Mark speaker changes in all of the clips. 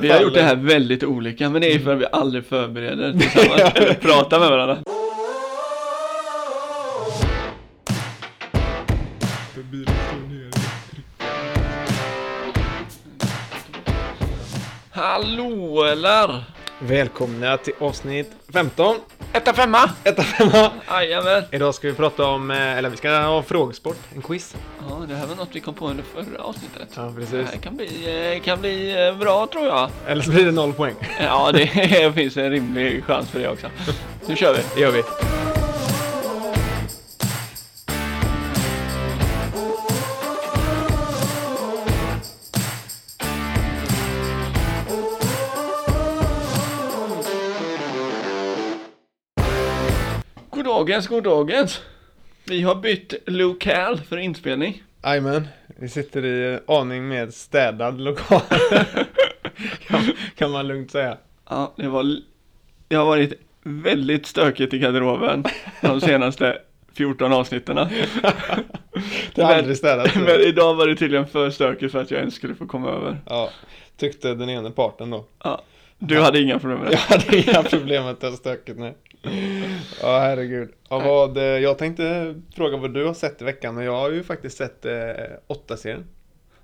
Speaker 1: Vi har gjort det här väldigt olika, men det är ju för att vi aldrig förbereder tillsammans eller pratar med varandra. Hallå eller?
Speaker 2: Välkomna till avsnitt 15,
Speaker 1: Etta femma!
Speaker 2: 105.
Speaker 1: Jajamän!
Speaker 2: Idag ska vi prata om, eh, eller vi ska ha frågesport, en quiz.
Speaker 1: Ja, det här var något vi kom på under förra avsnittet.
Speaker 2: Ja,
Speaker 1: Det
Speaker 2: precis.
Speaker 1: här kan bli, eh, kan bli eh, bra tror jag.
Speaker 2: Eller så blir det noll poäng.
Speaker 1: Ja, det finns en rimlig chans för det också. Nu kör vi!
Speaker 2: Det gör vi.
Speaker 1: Goddagens, goddagens! Vi har bytt lokal för inspelning.
Speaker 2: Jajamän, vi sitter i en aning med städad lokal. kan, kan man lugnt säga.
Speaker 1: Ja, det var... Det har varit väldigt stökigt i garderoben de senaste 14 avsnitten.
Speaker 2: Det är aldrig städat.
Speaker 1: Men idag var det tydligen för stökigt för att jag ens skulle få komma över.
Speaker 2: Ja, tyckte den ene parten då.
Speaker 1: Ja, du hade inga problem med
Speaker 2: Jag
Speaker 1: det?
Speaker 2: hade inga problem med att det var stökigt nej. Ja herregud. Ja, vad, eh, jag tänkte fråga vad du har sett i veckan och jag har ju faktiskt sett eh, 8-serien.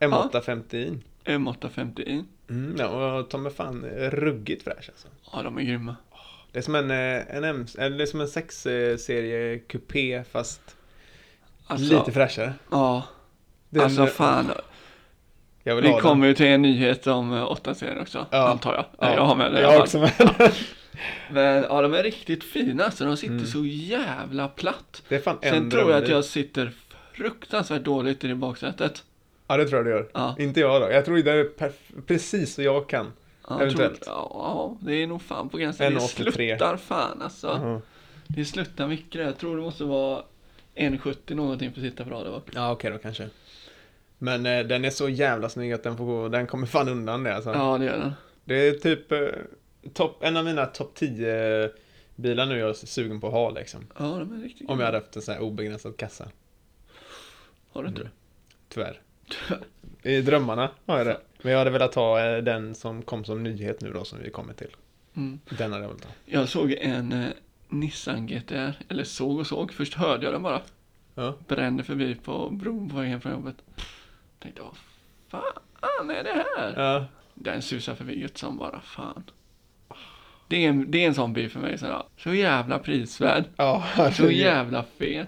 Speaker 2: M850.
Speaker 1: M850i.
Speaker 2: Mm, ja, och de är fan ruggigt fräsch alltså.
Speaker 1: Ja, de är grymma.
Speaker 2: Det är som en, eh, en, M, eller det är som en 6-serie kupé fast
Speaker 1: Alltså,
Speaker 2: lite fräschare.
Speaker 1: Ja,
Speaker 2: Den-
Speaker 1: alltså fan.
Speaker 2: Jag vill ha
Speaker 1: Vi
Speaker 2: den.
Speaker 1: kommer ju till en nyhet om 8-serien också,
Speaker 2: Ja.
Speaker 1: antar jag.
Speaker 2: Ja,
Speaker 1: Jag har med det i
Speaker 2: Jag
Speaker 1: alla
Speaker 2: har
Speaker 1: fall.
Speaker 2: också med den.
Speaker 1: Men ja, de är riktigt fina alltså, de sitter så jävla platt.
Speaker 2: Mm. Det är fan en
Speaker 1: Sen tror jag att
Speaker 2: drömbil.
Speaker 1: jag sitter fruktansvärt dåligt i det baksätet.
Speaker 2: Ja det tror jag du gör.
Speaker 1: Ja.
Speaker 2: Inte jag då. Jag tror det är perf- precis så jag kan.
Speaker 1: Ja, jag tror, ja,
Speaker 2: Eventuellt.
Speaker 1: ja, det är nog fan på gränsen. Det
Speaker 2: 1,83.
Speaker 1: sluttar fan alltså.
Speaker 2: Mhm.
Speaker 1: Det sluttar mycket. Jag tror det måste vara 1,70 någonting för att sitta bra där bak.
Speaker 2: Ja, okej då kanske. Men eh, den är så jävla snygg att den får gå, den kommer fan undan det alltså.
Speaker 1: Ja, det gör den.
Speaker 2: Det är typ eh, topp, en av mina topp 10 bilar nu jag är sugen på att ha liksom.
Speaker 1: Ja, de är riktigt
Speaker 2: Om jag
Speaker 1: grymma.
Speaker 2: hade haft en sån här obegränsad kassa.
Speaker 1: Har du inte det?
Speaker 2: Tyvärr. I drömmarna har jag det. Men jag hade velat ha eh, den som kom som nyhet nu då som vi kommer till.
Speaker 1: Mm.
Speaker 2: Den hade jag velat ha.
Speaker 1: Jag såg en eh, Nissan GTR, eller såg och såg. Först hörde jag den bara.
Speaker 2: Ja.
Speaker 1: Brände förbi på bron på vägen från jobbet. Tänkte, vad fan är det här?
Speaker 2: Ja.
Speaker 1: Den susar förbi gött som bara fan. Det är, en, det är en sån bil för mig. Sådär. Så jävla prisvärd.
Speaker 2: Ja, alltså,
Speaker 1: Så jävla fet.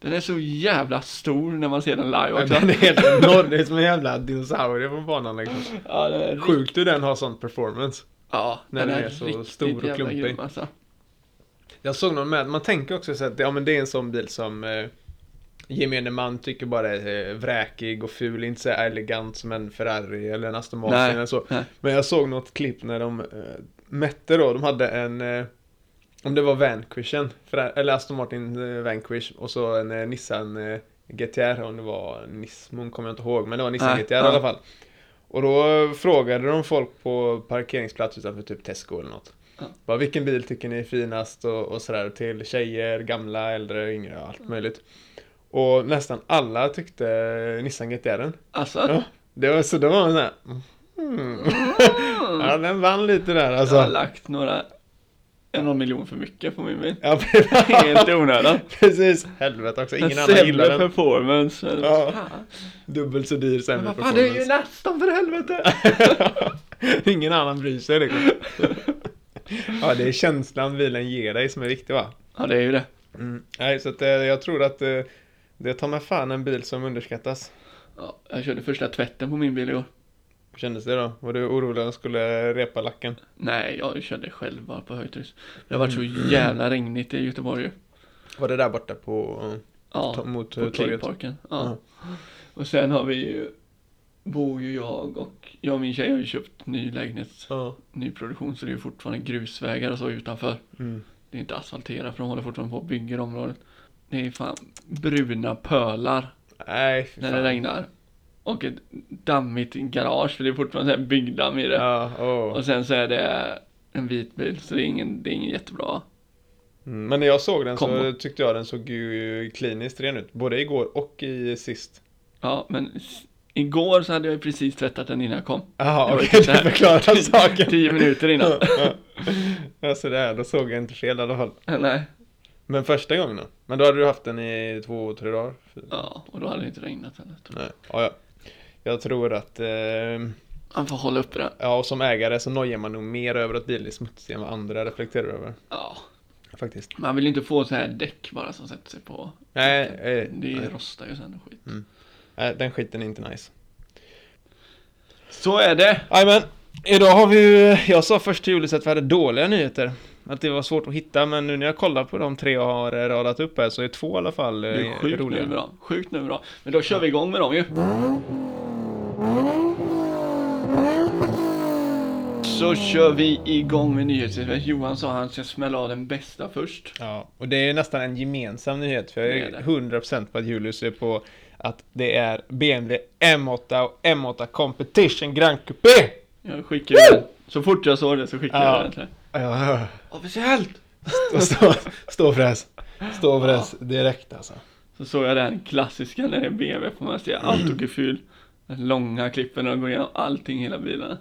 Speaker 1: Den är så jävla stor när man ser den live också.
Speaker 2: Den är helt enorm. Det är som en jävla dinosaurie på banan liksom.
Speaker 1: Ja, den är,
Speaker 2: Sjukt hur den har sån performance.
Speaker 1: ja,
Speaker 2: När den är så
Speaker 1: riktigt
Speaker 2: stor och
Speaker 1: jävla
Speaker 2: klumpig.
Speaker 1: grym, Alltså.
Speaker 2: Jag såg någon med, man tänker också så att ja, men det är en sån bil som eh, gemene man tycker bara är eh, vräkig och ful, inte så här elegant som en Ferrari eller en Aston Martin
Speaker 1: Nej,
Speaker 2: eller så.
Speaker 1: nej.
Speaker 2: Men jag såg något klipp när de eh, mätte då, de hade en, eh, om det var Vanquishen, Ferra- eller Aston Martin eh, Vanquish och så en eh, Nissan eh, GTR, om det var Nismon kommer jag inte ihåg, men det var Nissan
Speaker 1: Nej,
Speaker 2: GTR i
Speaker 1: ja.
Speaker 2: alla fall. Och då eh, frågade de folk på parkeringsplats utanför typ Tesco eller något. Bara, vilken bil tycker ni är finast och, och sådär till tjejer, gamla, äldre, yngre, allt möjligt. Och nästan alla tyckte Nissan GT-R.
Speaker 1: Alltså,
Speaker 2: Ja, det var så det var en sån här. Mm. ja, den vann lite där alltså.
Speaker 1: jag har lagt några, en och en miljon för mycket på min bil.
Speaker 2: Ja,
Speaker 1: Helt i onödan.
Speaker 2: precis. Helvete också, ingen
Speaker 1: en
Speaker 2: annan gillar
Speaker 1: sämre
Speaker 2: den.
Speaker 1: performance. men
Speaker 2: Ja.
Speaker 1: fan.
Speaker 2: Dubbelt så dyr,
Speaker 1: Men
Speaker 2: sämre
Speaker 1: vad fan, det är ju
Speaker 2: performance.
Speaker 1: nästan för helvete.
Speaker 2: ingen annan bryr sig liksom. ja, det är känslan bilen ger dig som är viktig va?
Speaker 1: Ja, det är ju det.
Speaker 2: Mm. Nej, så att, eh, jag tror att eh, det tar mig fan en bil som underskattas.
Speaker 1: Ja, jag körde första tvätten på min bil igår.
Speaker 2: Hur kändes det då? Var du orolig att den skulle repa lacken?
Speaker 1: Nej, jag körde själv bara på högtryck. Det har varit så
Speaker 2: Mm.
Speaker 1: jävla regnigt i Göteborg ju.
Speaker 2: Var det där borta på... eh,
Speaker 1: Ja,
Speaker 2: ta- mot eh,
Speaker 1: på
Speaker 2: torget?
Speaker 1: Klipparken. Ja. Och sen har vi ju, bor ju jag och, jag och min tjej har ju köpt ny lägenhet,
Speaker 2: Ja.
Speaker 1: ny produktion så det är ju fortfarande grusvägar och så utanför.
Speaker 2: Mm.
Speaker 1: Det är inte asfalterat för de håller fortfarande på och bygger området. Det är fan bruna pölar
Speaker 2: Nej, fy
Speaker 1: när
Speaker 2: fan.
Speaker 1: det regnar. Och ett dammigt garage, för det är fortfarande så här byggdamm i det.
Speaker 2: Ja, åh.
Speaker 1: Och sen så är det en vit bil, så det är ingen, det är ingen jättebra.
Speaker 2: Mm, Men när jag såg den så
Speaker 1: Kombo.
Speaker 2: tyckte jag den såg ju kliniskt ren ut. Både igår och i sist.
Speaker 1: Ja, men s- Igår så hade jag ju precis tvättat den innan jag kom.
Speaker 2: Jaha,
Speaker 1: Det var
Speaker 2: okej,
Speaker 1: lite så
Speaker 2: det
Speaker 1: här.
Speaker 2: förklarar saken.
Speaker 1: Tio minuter innan.
Speaker 2: Ja, ja. ja, sådär, då såg jag inte fel i alla fall.
Speaker 1: Nej.
Speaker 2: Men första gången då? Men då hade du haft den i två, tre dagar? Fyra.
Speaker 1: Ja, och då hade det inte regnat än. tror jag.
Speaker 2: Nej. Ja, ja. Jag tror att, eh,
Speaker 1: Man får hålla uppe den.
Speaker 2: ja, och som ägare så nojar man nog mer över att bilen är smutsig än vad andra reflekterar över.
Speaker 1: Ja.
Speaker 2: Faktiskt.
Speaker 1: Man vill ju inte få så här däck bara som sätter sig på.
Speaker 2: Nej, eh,
Speaker 1: Det
Speaker 2: nej.
Speaker 1: rostar ju sen och skit.
Speaker 2: nej, den skiten är inte nice.
Speaker 1: Så är det.
Speaker 2: Jajamän, idag har vi ju, jag sa först till Julius att vi hade dåliga nyheter. Att det var svårt att hitta, men nu när jag kollar på de tre jag har eh, radat upp här så är två i alla fall eh,
Speaker 1: Det är sjukt nu
Speaker 2: roliga.
Speaker 1: bra. Sjukt nu bra. Men då kör vi igång med dem ju. Så kör vi igång med nyhetssvepet. Johan sa att han ska smälla av den bästa först.
Speaker 2: Ja, och det är nästan en gemensam nyhet för jag
Speaker 1: Det är
Speaker 2: är
Speaker 1: det.
Speaker 2: 100% på att Julius är på att det är BMW M8 och M8 Competition Grand Coupé!
Speaker 1: Jag skickade den. Så fort jag såg det så skickade
Speaker 2: Ja.
Speaker 1: jag den till dig.
Speaker 2: Ja,
Speaker 1: Officiellt!
Speaker 2: stå, stå, stå fräs. Stå fräs direkt alltså.
Speaker 1: Så såg jag den klassiska när det är BMW får man se autogefyl. Den långa klippen och går igenom allting i hela bilen.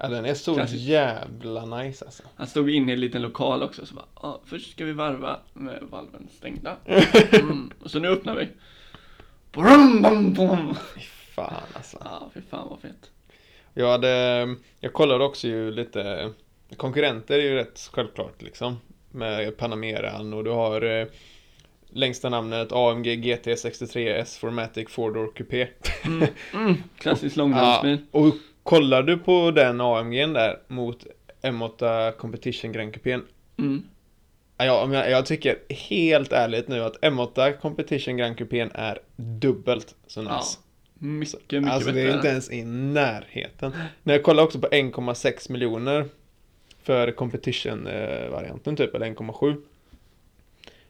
Speaker 2: Ja, den är så
Speaker 1: Klassiskt.
Speaker 2: jävla nice alltså.
Speaker 1: Han stod inne i en liten lokal också så bara, ja, först ska vi varva med valven stängda. Mm. Och så nu öppnar vi. Brum, bum, bum.
Speaker 2: Fy Fan alltså.
Speaker 1: Ja, fy fan vad fett.
Speaker 2: Jag hade, jag kollade också ju lite, konkurrenter är ju rätt självklart liksom. Med Panameran och du har eh, längsta namnet AMG GT 63 S Formatic 4-door Coupé.
Speaker 1: Mm. Klassisk
Speaker 2: ja,
Speaker 1: långdragsbil.
Speaker 2: och kollar du på den AMG'n där mot M8 Competition Grand Coupén.
Speaker 1: Mm.
Speaker 2: Ja, jag, men jag tycker helt ärligt nu att M8 Competition Grand Coupén är dubbelt så nice.
Speaker 1: Ja, mycket, mycket
Speaker 2: alltså det
Speaker 1: bättre.
Speaker 2: är inte ens i närheten. När jag kollar också på 1,6 miljoner för competition-varianten typ, eller 1,7.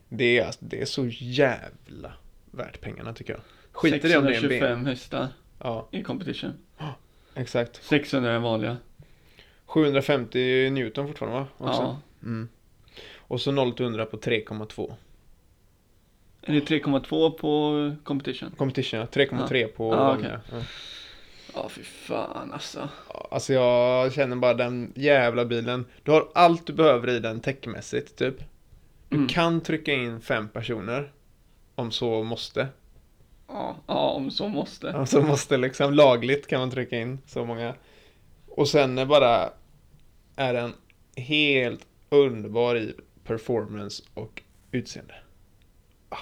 Speaker 2: Det är, alltså, det är så jävla värt pengarna tycker jag. Skiter i om det är en BMW.
Speaker 1: 625 hästar
Speaker 2: Ja,
Speaker 1: i competition.
Speaker 2: exakt.
Speaker 1: 600 är vanliga.
Speaker 2: 750 Newton fortfarande va? Också.
Speaker 1: Ja.
Speaker 2: Mm. Och så 0 till 100 på 3,2.
Speaker 1: Är det 3,2 på competition?
Speaker 2: Competition ja, 3,3 på
Speaker 1: Ja,
Speaker 2: vanliga. Ja.
Speaker 1: Ja, fy fan alltså.
Speaker 2: Alltså jag känner bara den jävla bilen. Du har allt du behöver i den techmässigt typ. Du
Speaker 1: Mm.
Speaker 2: kan trycka in fem personer. Om så måste.
Speaker 1: Ja, ja om så måste.
Speaker 2: Om så måste liksom. Lagligt kan man trycka in så många. Och sen är bara är den helt underbar i performance och utseende. Ah.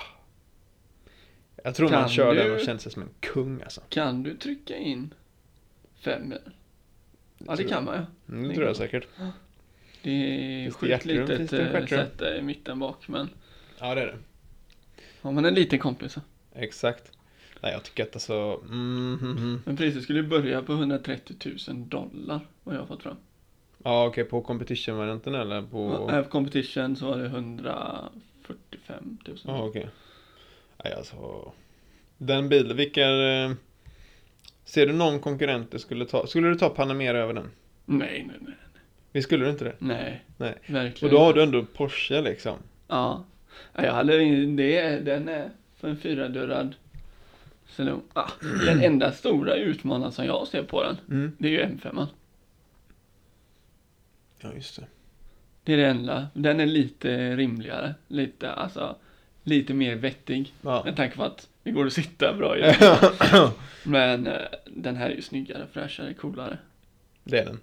Speaker 2: Jag tror man
Speaker 1: Kan
Speaker 2: kör den
Speaker 1: du-
Speaker 2: och känns som en kung alltså.
Speaker 1: Kan du trycka in fem? Ja, det
Speaker 2: tror
Speaker 1: kan man ju.
Speaker 2: Mm, det
Speaker 1: Det
Speaker 2: tror jag
Speaker 1: kan-
Speaker 2: säkert.
Speaker 1: Det är
Speaker 2: Finns det
Speaker 1: sjukt
Speaker 2: hjärtrum? Finns
Speaker 1: litet
Speaker 2: det
Speaker 1: eh,
Speaker 2: stjärtrum?
Speaker 1: säte i mitten bak men
Speaker 2: Ja det är det.
Speaker 1: har man en liten kompis så.
Speaker 2: Exakt. Nej jag tycker att alltså. Mm, mm, mm.
Speaker 1: Men priset skulle ju börja på 130 000 dollar vad jag har fått fram.
Speaker 2: Ja, okej, på competition-varianten eller på...
Speaker 1: Och här på competition så var det 145 000.
Speaker 2: Ja, okej. Nej, alltså... Den bilen, vilka... eh, Ser du någon konkurrent du skulle ta? Skulle du ta Panamera över den?
Speaker 1: Nej, nej, nej.
Speaker 2: Vi skulle du inte det?
Speaker 1: Nej,
Speaker 2: Nej. Och
Speaker 1: verkligen
Speaker 2: då har
Speaker 1: inte.
Speaker 2: du ändå Porsche liksom.
Speaker 1: Ja. Ja, Jag hade in- det, är- den är för en fyradörrad saloon. Ah, den enda stora utmanaren som jag ser på den,
Speaker 2: Mm.
Speaker 1: det är ju M5.
Speaker 2: Ja, just det.
Speaker 1: Det är det enda. Den är lite rimligare, lite alltså, lite mer vettig.
Speaker 2: Ja.
Speaker 1: Med tanke på att det går att sitta bra i den. Men eh, den här är ju snyggare, fräschare, coolare.
Speaker 2: det är den.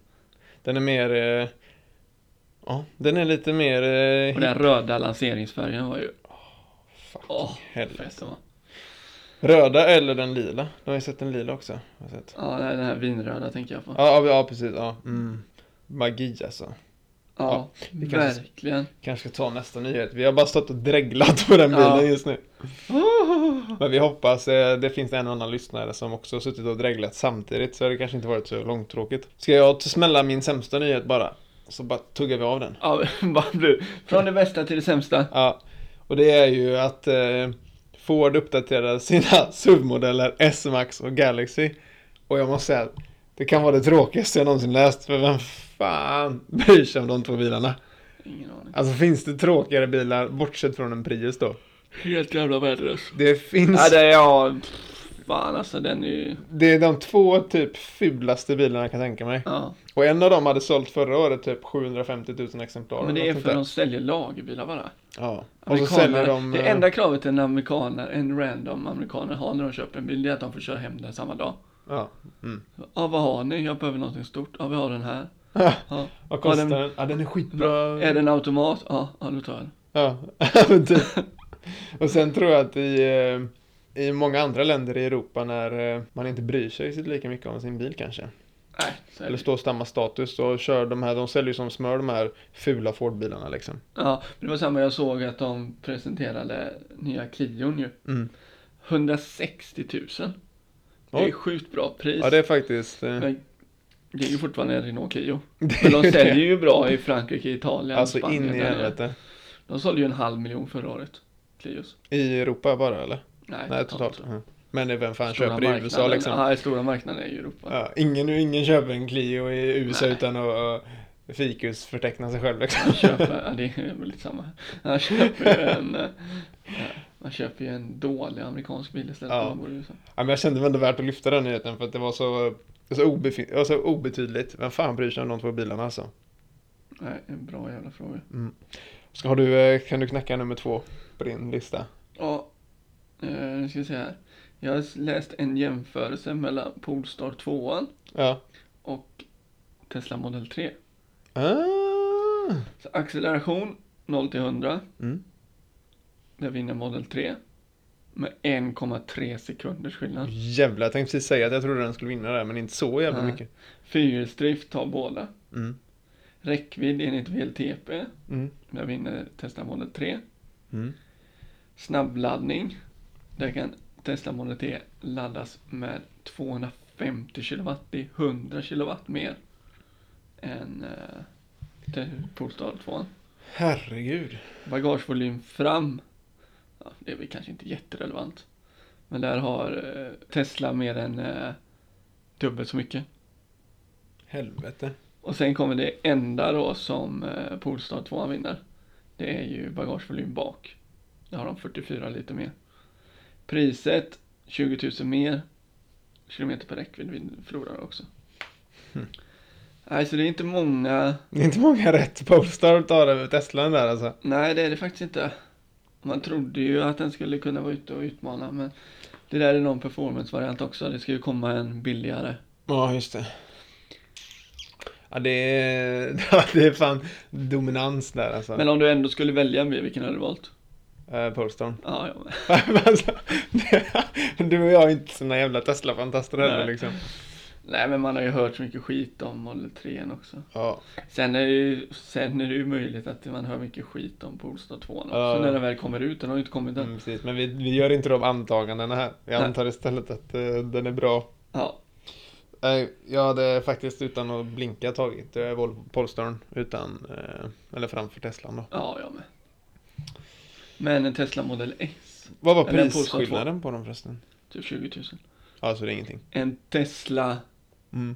Speaker 2: Den är mer... eh, Ja, den är lite mer... eh,
Speaker 1: Och den röda lanseringsfärgen var ju...
Speaker 2: Fucking
Speaker 1: Åh,
Speaker 2: helvete.
Speaker 1: fett den var.
Speaker 2: Röda eller den lila? Du har ju sett den lila också. Har jag sett.
Speaker 1: Ja, nej, den här vinröda tänker jag på. Ja,
Speaker 2: Ja, ja, ja precis. Ja. Mm. Magi alltså. ja, vi kanske-
Speaker 1: verkligen.
Speaker 2: Kanske ta nästa nyhet. Vi har bara stått och dreglat på den bilen
Speaker 1: Ja.
Speaker 2: just nu. Men vi hoppas, eh, det finns en annan lyssnare som också har suttit och dreglat samtidigt så det kanske inte varit så långtråkigt. Ska jag smälla min sämsta nyhet bara? Så bara tuggar vi av den.
Speaker 1: Ja, bara blir- Från det bästa till det sämsta.
Speaker 2: Ja, och det är ju att eh, Ford uppdaterade sina SUV-modeller S-Max och Galaxy. Och jag måste säga att det kan vara det tråkigaste jag någonsin läst för vem fan bryr sig om de två bilarna?
Speaker 1: Ingen aning.
Speaker 2: Alltså finns det tråkigare bilar bortsett från en Prius då?
Speaker 1: Helt jävla värdelös.
Speaker 2: Det finns
Speaker 1: Ja, det är jag... fan alltså, den är ju...
Speaker 2: Det är de två typ fulaste bilarna jag kan tänka mig.
Speaker 1: Ja.
Speaker 2: Och en av dem hade sålt förra året typ 750 000 exemplar.
Speaker 1: Men
Speaker 2: eller
Speaker 1: det är
Speaker 2: något
Speaker 1: för att de
Speaker 2: sånt
Speaker 1: säljer lagerbilar bara.
Speaker 2: där. Ja. Och så
Speaker 1: Amerikaner,
Speaker 2: säljer de...
Speaker 1: det
Speaker 2: eh,
Speaker 1: enda kravet en amerikaner, en random amerikaner har när de köper en bil, det är att de får köra hem den samma dag.
Speaker 2: Ja. Mm.
Speaker 1: Ja, vad har ni? Jag behöver någonting stort. Ja, vi har den här. Ja.
Speaker 2: Vad kostar
Speaker 1: den-
Speaker 2: den? Ja, den är skitbra.
Speaker 1: Är det en automat? Ja, ja då tar jag den.
Speaker 2: Ja, men typ. Och sen tror jag att i, eh, i många andra länder i Europa när eh, man inte bryr sig så lika mycket om sin bil kanske.
Speaker 1: Nej, så är
Speaker 2: Eller
Speaker 1: det.
Speaker 2: står samma status och kör de här, de säljer ju som smör de här fula Ford-bilarna liksom.
Speaker 1: Ja, men det var samma. Jag såg att de presenterade nya Kion ju.
Speaker 2: Mm.
Speaker 1: 160 000. Det är
Speaker 2: Oj.
Speaker 1: sjukt bra pris.
Speaker 2: Ja, det är faktiskt... eh,
Speaker 1: Men det är ju fortfarande en Renault Clio.
Speaker 2: det
Speaker 1: Men de
Speaker 2: är-
Speaker 1: säljer ju bra i Frankrike, Italien,
Speaker 2: Alltså
Speaker 1: Spanien.
Speaker 2: in i
Speaker 1: där nere.
Speaker 2: helvete.
Speaker 1: De sålde ju en halv miljon förra året. Clios.
Speaker 2: I Europa bara eller?
Speaker 1: Nej,
Speaker 2: Nej, totalt. Mm. Men vem fan
Speaker 1: Stora
Speaker 2: köper i USA
Speaker 1: marknaden.
Speaker 2: liksom?
Speaker 1: Ja, stora marknaden är ju Europa.
Speaker 2: Ja, ingen, ingen köper en Clio i USA
Speaker 1: Nej.
Speaker 2: utan att uh, fikusförteckna sig själv liksom.
Speaker 1: Man köper, ja, det är väl lite samma. Man köper ju en, eh, ja, man köper ju en dålig amerikansk bil istället.
Speaker 2: Ja.
Speaker 1: för man bor i USA.
Speaker 2: Ja, men jag kände det ändå värt att lyfta den nyheten för att det var så, så, obefin- och så obetydligt. Vem fan bryr sig om de två bilarna alltså?
Speaker 1: Nej, en bra jävla fråga.
Speaker 2: Ska, har du, eh, kan du knäcka nummer två på din lista?
Speaker 1: Ja, eh, nu ska vi se här. Jag har läst en jämförelse mellan Polestar 2
Speaker 2: Ja.
Speaker 1: och Tesla Model 3.
Speaker 2: Ah.
Speaker 1: Så acceleration 0 till 100,
Speaker 2: Mm.
Speaker 1: där vinner Model 3 med 1,3 sekunders skillnad.
Speaker 2: Jävlar, jag tänkte precis säga att jag trodde den skulle vinna där, men inte så jävla
Speaker 1: Nej.
Speaker 2: mycket.
Speaker 1: Fyrhjulsdrift tar båda.
Speaker 2: Mm.
Speaker 1: Räckvidd enligt VLTP,
Speaker 2: Mm.
Speaker 1: där vinner Tesla Model 3.
Speaker 2: Mm.
Speaker 1: Snabbladdning, där kan Tesla Model 3 laddas med 250 kW, det är 100 kW mer än eh, Te- Polestar 2.
Speaker 2: Herregud.
Speaker 1: Bagagevolym fram, ja, det är väl kanske inte jätterelevant. Men där har eh, Tesla mer än eh, dubbelt så mycket.
Speaker 2: Helvete.
Speaker 1: Och sen kommer det enda då som eh, Polestar 2 vinner. Det är ju bagagevolym bak. Där har de 44 liter mer. Priset 20 000 mer. Kilometer per räckvidd vin- förlorar också. Nej, så det är inte många.
Speaker 2: Det är inte många rätt Polestar tar över Teslan där alltså.
Speaker 1: Nej, det är det faktiskt inte. Man trodde ju att den skulle kunna vara ute och utmana, men det där är någon performance-variant också. Det ska ju komma en billigare.
Speaker 2: Ja, just det. Ja, det är, ja, det är fan dominans där alltså.
Speaker 1: Men om du ändå skulle välja en bil, vilken hade du valt?
Speaker 2: Eh, Polestar.
Speaker 1: Ja, jag med.
Speaker 2: alltså, du och jag är inte såna jävla Tesla-fantaster heller
Speaker 1: Nej.
Speaker 2: liksom.
Speaker 1: Nej, men man har ju hört så mycket skit om Model 3 också.
Speaker 2: Ja.
Speaker 1: Sen är, det ju, sen är det ju möjligt att man hör mycket skit om Polestar 2 också
Speaker 2: Ja.
Speaker 1: när den väl kommer ut. Den har ju inte kommit än.
Speaker 2: Mm, precis. Men vi, vi gör inte de antagandena här. Jag
Speaker 1: Nej.
Speaker 2: antar istället att eh, den är bra.
Speaker 1: Ja,
Speaker 2: Nej, jag hade faktiskt utan att blinka tagit eh, Volvo Polestarn utan, eh, eller framför Teslan då.
Speaker 1: ja, jag med. Men en Tesla Model S,
Speaker 2: Vad var
Speaker 1: Eller en Polestar
Speaker 2: prisskillnaden på dem förresten?
Speaker 1: typ 20 000.
Speaker 2: Alltså det är ingenting.
Speaker 1: En Tesla
Speaker 2: Mm.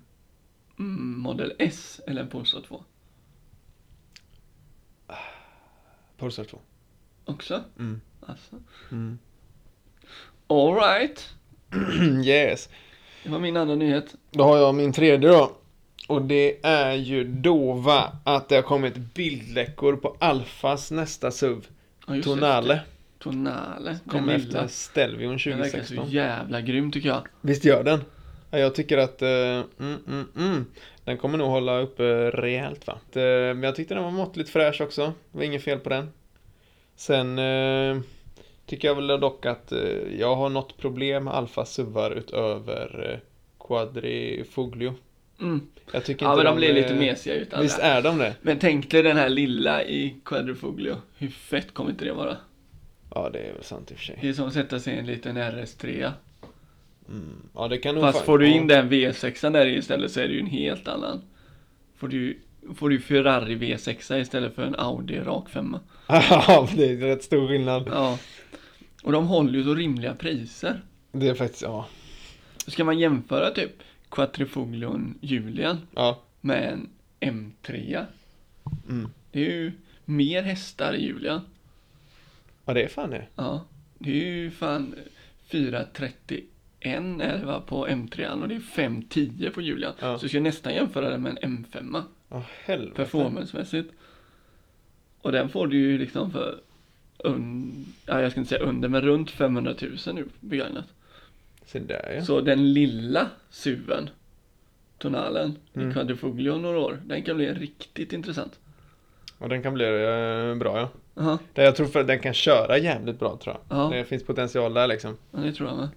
Speaker 1: mm, Model S eller en Polestar 2
Speaker 2: Polestar 2.
Speaker 1: också.
Speaker 2: Mm.
Speaker 1: Alltså.
Speaker 2: Mm.
Speaker 1: Alright,
Speaker 2: yes.
Speaker 1: det var min andra nyhet.
Speaker 2: Då har jag min tredje då. Och det är ju Dova att det har kommit bildläckor på Alfas nästa SUV.
Speaker 1: Ja, just det.
Speaker 2: Tonale.
Speaker 1: Tonale.
Speaker 2: Kom
Speaker 1: den
Speaker 2: efter
Speaker 1: lilla.
Speaker 2: Stelvion
Speaker 1: Den verkar så
Speaker 2: 2016.
Speaker 1: jävla grym tycker jag.
Speaker 2: Visst gör den? Ja, jag tycker att eh, mm, mm, mm, den kommer nog hålla uppe rejält va. Eh, men jag tyckte den var måttligt fräsch också. Det var inget fel på den. Sen eh, tycker jag väl dock att eh, jag har något problem med Alfa SUVar utöver eh, Quadrifoglio.
Speaker 1: Mm.
Speaker 2: Jag tycker
Speaker 1: Ja,
Speaker 2: inte
Speaker 1: men de blir lite
Speaker 2: eh,
Speaker 1: mesiga utan
Speaker 2: Visst
Speaker 1: det.
Speaker 2: är de det?
Speaker 1: Men tänk dig den här lilla i Quadrifoglio. Hur fett kommer inte det vara?
Speaker 2: Ja, det är väl sant i och för sig.
Speaker 1: Det är som att sätta sig i en liten RS3.
Speaker 2: Mm. Ja, det kan nog
Speaker 1: Fast
Speaker 2: fan-
Speaker 1: får du
Speaker 2: ja.
Speaker 1: in den V6 där i istället så är det ju en helt annan. Får du, får du Ferrari V6 istället för en Audi rak femma.
Speaker 2: Ja, det är rätt stor skillnad.
Speaker 1: Ja. Och de håller ju så rimliga priser.
Speaker 2: Det är faktiskt, ja.
Speaker 1: Ska man jämföra typ Quattrofoglion Julian
Speaker 2: Ja.
Speaker 1: med en M3?
Speaker 2: Mm.
Speaker 1: Det är ju mer hästar i Julian.
Speaker 2: Ja, det är fan det.
Speaker 1: Ja, det är ju fan 430 en 11 på M3 och det är 510 på Julian.
Speaker 2: Ja.
Speaker 1: Så du ska nästan jämföra den med en M5
Speaker 2: Åh helvete.
Speaker 1: performancemässigt. Och den får du ju liksom för un... ja, jag ska inte säga under, men runt 500 000 nu begagnat.
Speaker 2: Se där ja.
Speaker 1: Så den lilla SUVen, tonalen,
Speaker 2: Mm.
Speaker 1: i Quadrifoglio om några år, den kan bli riktigt intressant.
Speaker 2: Och den kan bli eh, bra ja.
Speaker 1: Jaha,
Speaker 2: Det jag tror för att den kan köra jävligt bra tror jag.
Speaker 1: Ja.
Speaker 2: Det finns potential där liksom.
Speaker 1: ja, det tror jag med.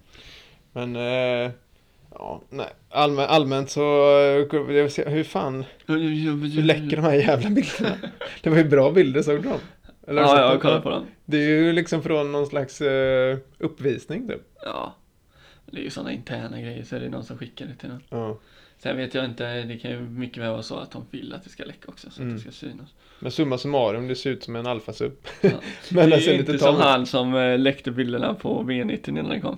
Speaker 2: Men eh, ja, nej. Allmän, allmänt så, eh, jag vill se- hur fan, hur
Speaker 1: Hur
Speaker 2: läcker de här jävla bilderna? Det var ju bra bilder såg du dem? Eller har
Speaker 1: Ja,
Speaker 2: du
Speaker 1: jag
Speaker 2: sett
Speaker 1: har
Speaker 2: dem?
Speaker 1: kollat på dem.
Speaker 2: Det är ju liksom från någon slags eh, uppvisning typ.
Speaker 1: Ja. Det är ju sådana interna grejer så är det någon som skickar det till någon.
Speaker 2: Ja.
Speaker 1: Sen vet jag inte, det kan ju mycket väl vara så att de vill att det ska läcka också så att
Speaker 2: Mm.
Speaker 1: det ska synas.
Speaker 2: Men summa summarum, det ser ut som en alfasup.
Speaker 1: Ja.
Speaker 2: Men
Speaker 1: det
Speaker 2: den
Speaker 1: är ju
Speaker 2: ser lite
Speaker 1: inte som
Speaker 2: tom ut.
Speaker 1: han som eh, läckte bilderna på V90 när den kom.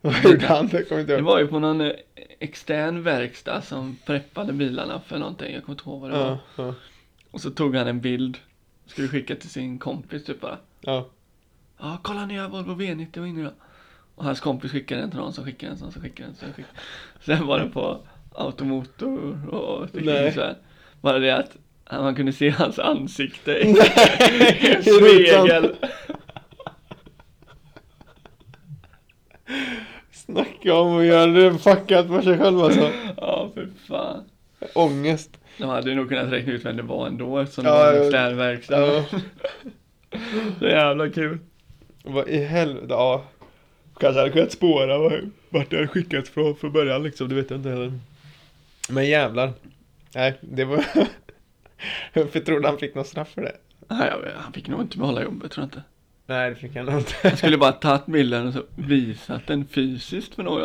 Speaker 2: Vad gjorde han? Det kommer inte
Speaker 1: Det
Speaker 2: jag
Speaker 1: var ju på någon eh, extern verkstad som preppade bilarna för någonting, jag kommer inte ihåg vad det var.
Speaker 2: Ja, ja,
Speaker 1: Och så tog han en bild, skulle skicka till sin kompis typ bara.
Speaker 2: ja.
Speaker 1: Ja, kolla nya Volvo V90 var inne då. Och hans kompis skickade den till någon som skickade den, som skickade den, som skickade den. Sen var den på automotor och
Speaker 2: Nej.
Speaker 1: tyckte så här. Bara det att man kunde se hans ansikte i i en
Speaker 2: Nej,
Speaker 1: spegel.
Speaker 2: Snacka om att göra det fuckat för sig själv alltså.
Speaker 1: Ja, för fan.
Speaker 2: Ångest.
Speaker 1: De hade ju nog kunnat räkna ut vem det var ändå eftersom
Speaker 2: Ja,
Speaker 1: det var en
Speaker 2: ja.
Speaker 1: extern verkstad.
Speaker 2: Ja.
Speaker 1: Så jävla kul.
Speaker 2: Vad i helvete, ja. Kanske hade kunnat spåra vad- vart det hade skickats från från början liksom, det vet jag inte heller. Men jävlar. Nej, det var... Varför tror du han fick någon straff för det?
Speaker 1: Nej, jag vet, han fick nog inte behålla jobbet tror jag inte.
Speaker 2: Nej, det fick han
Speaker 1: Han
Speaker 2: inte.
Speaker 1: skulle bara tagit bilden och så visat den fysiskt för någon.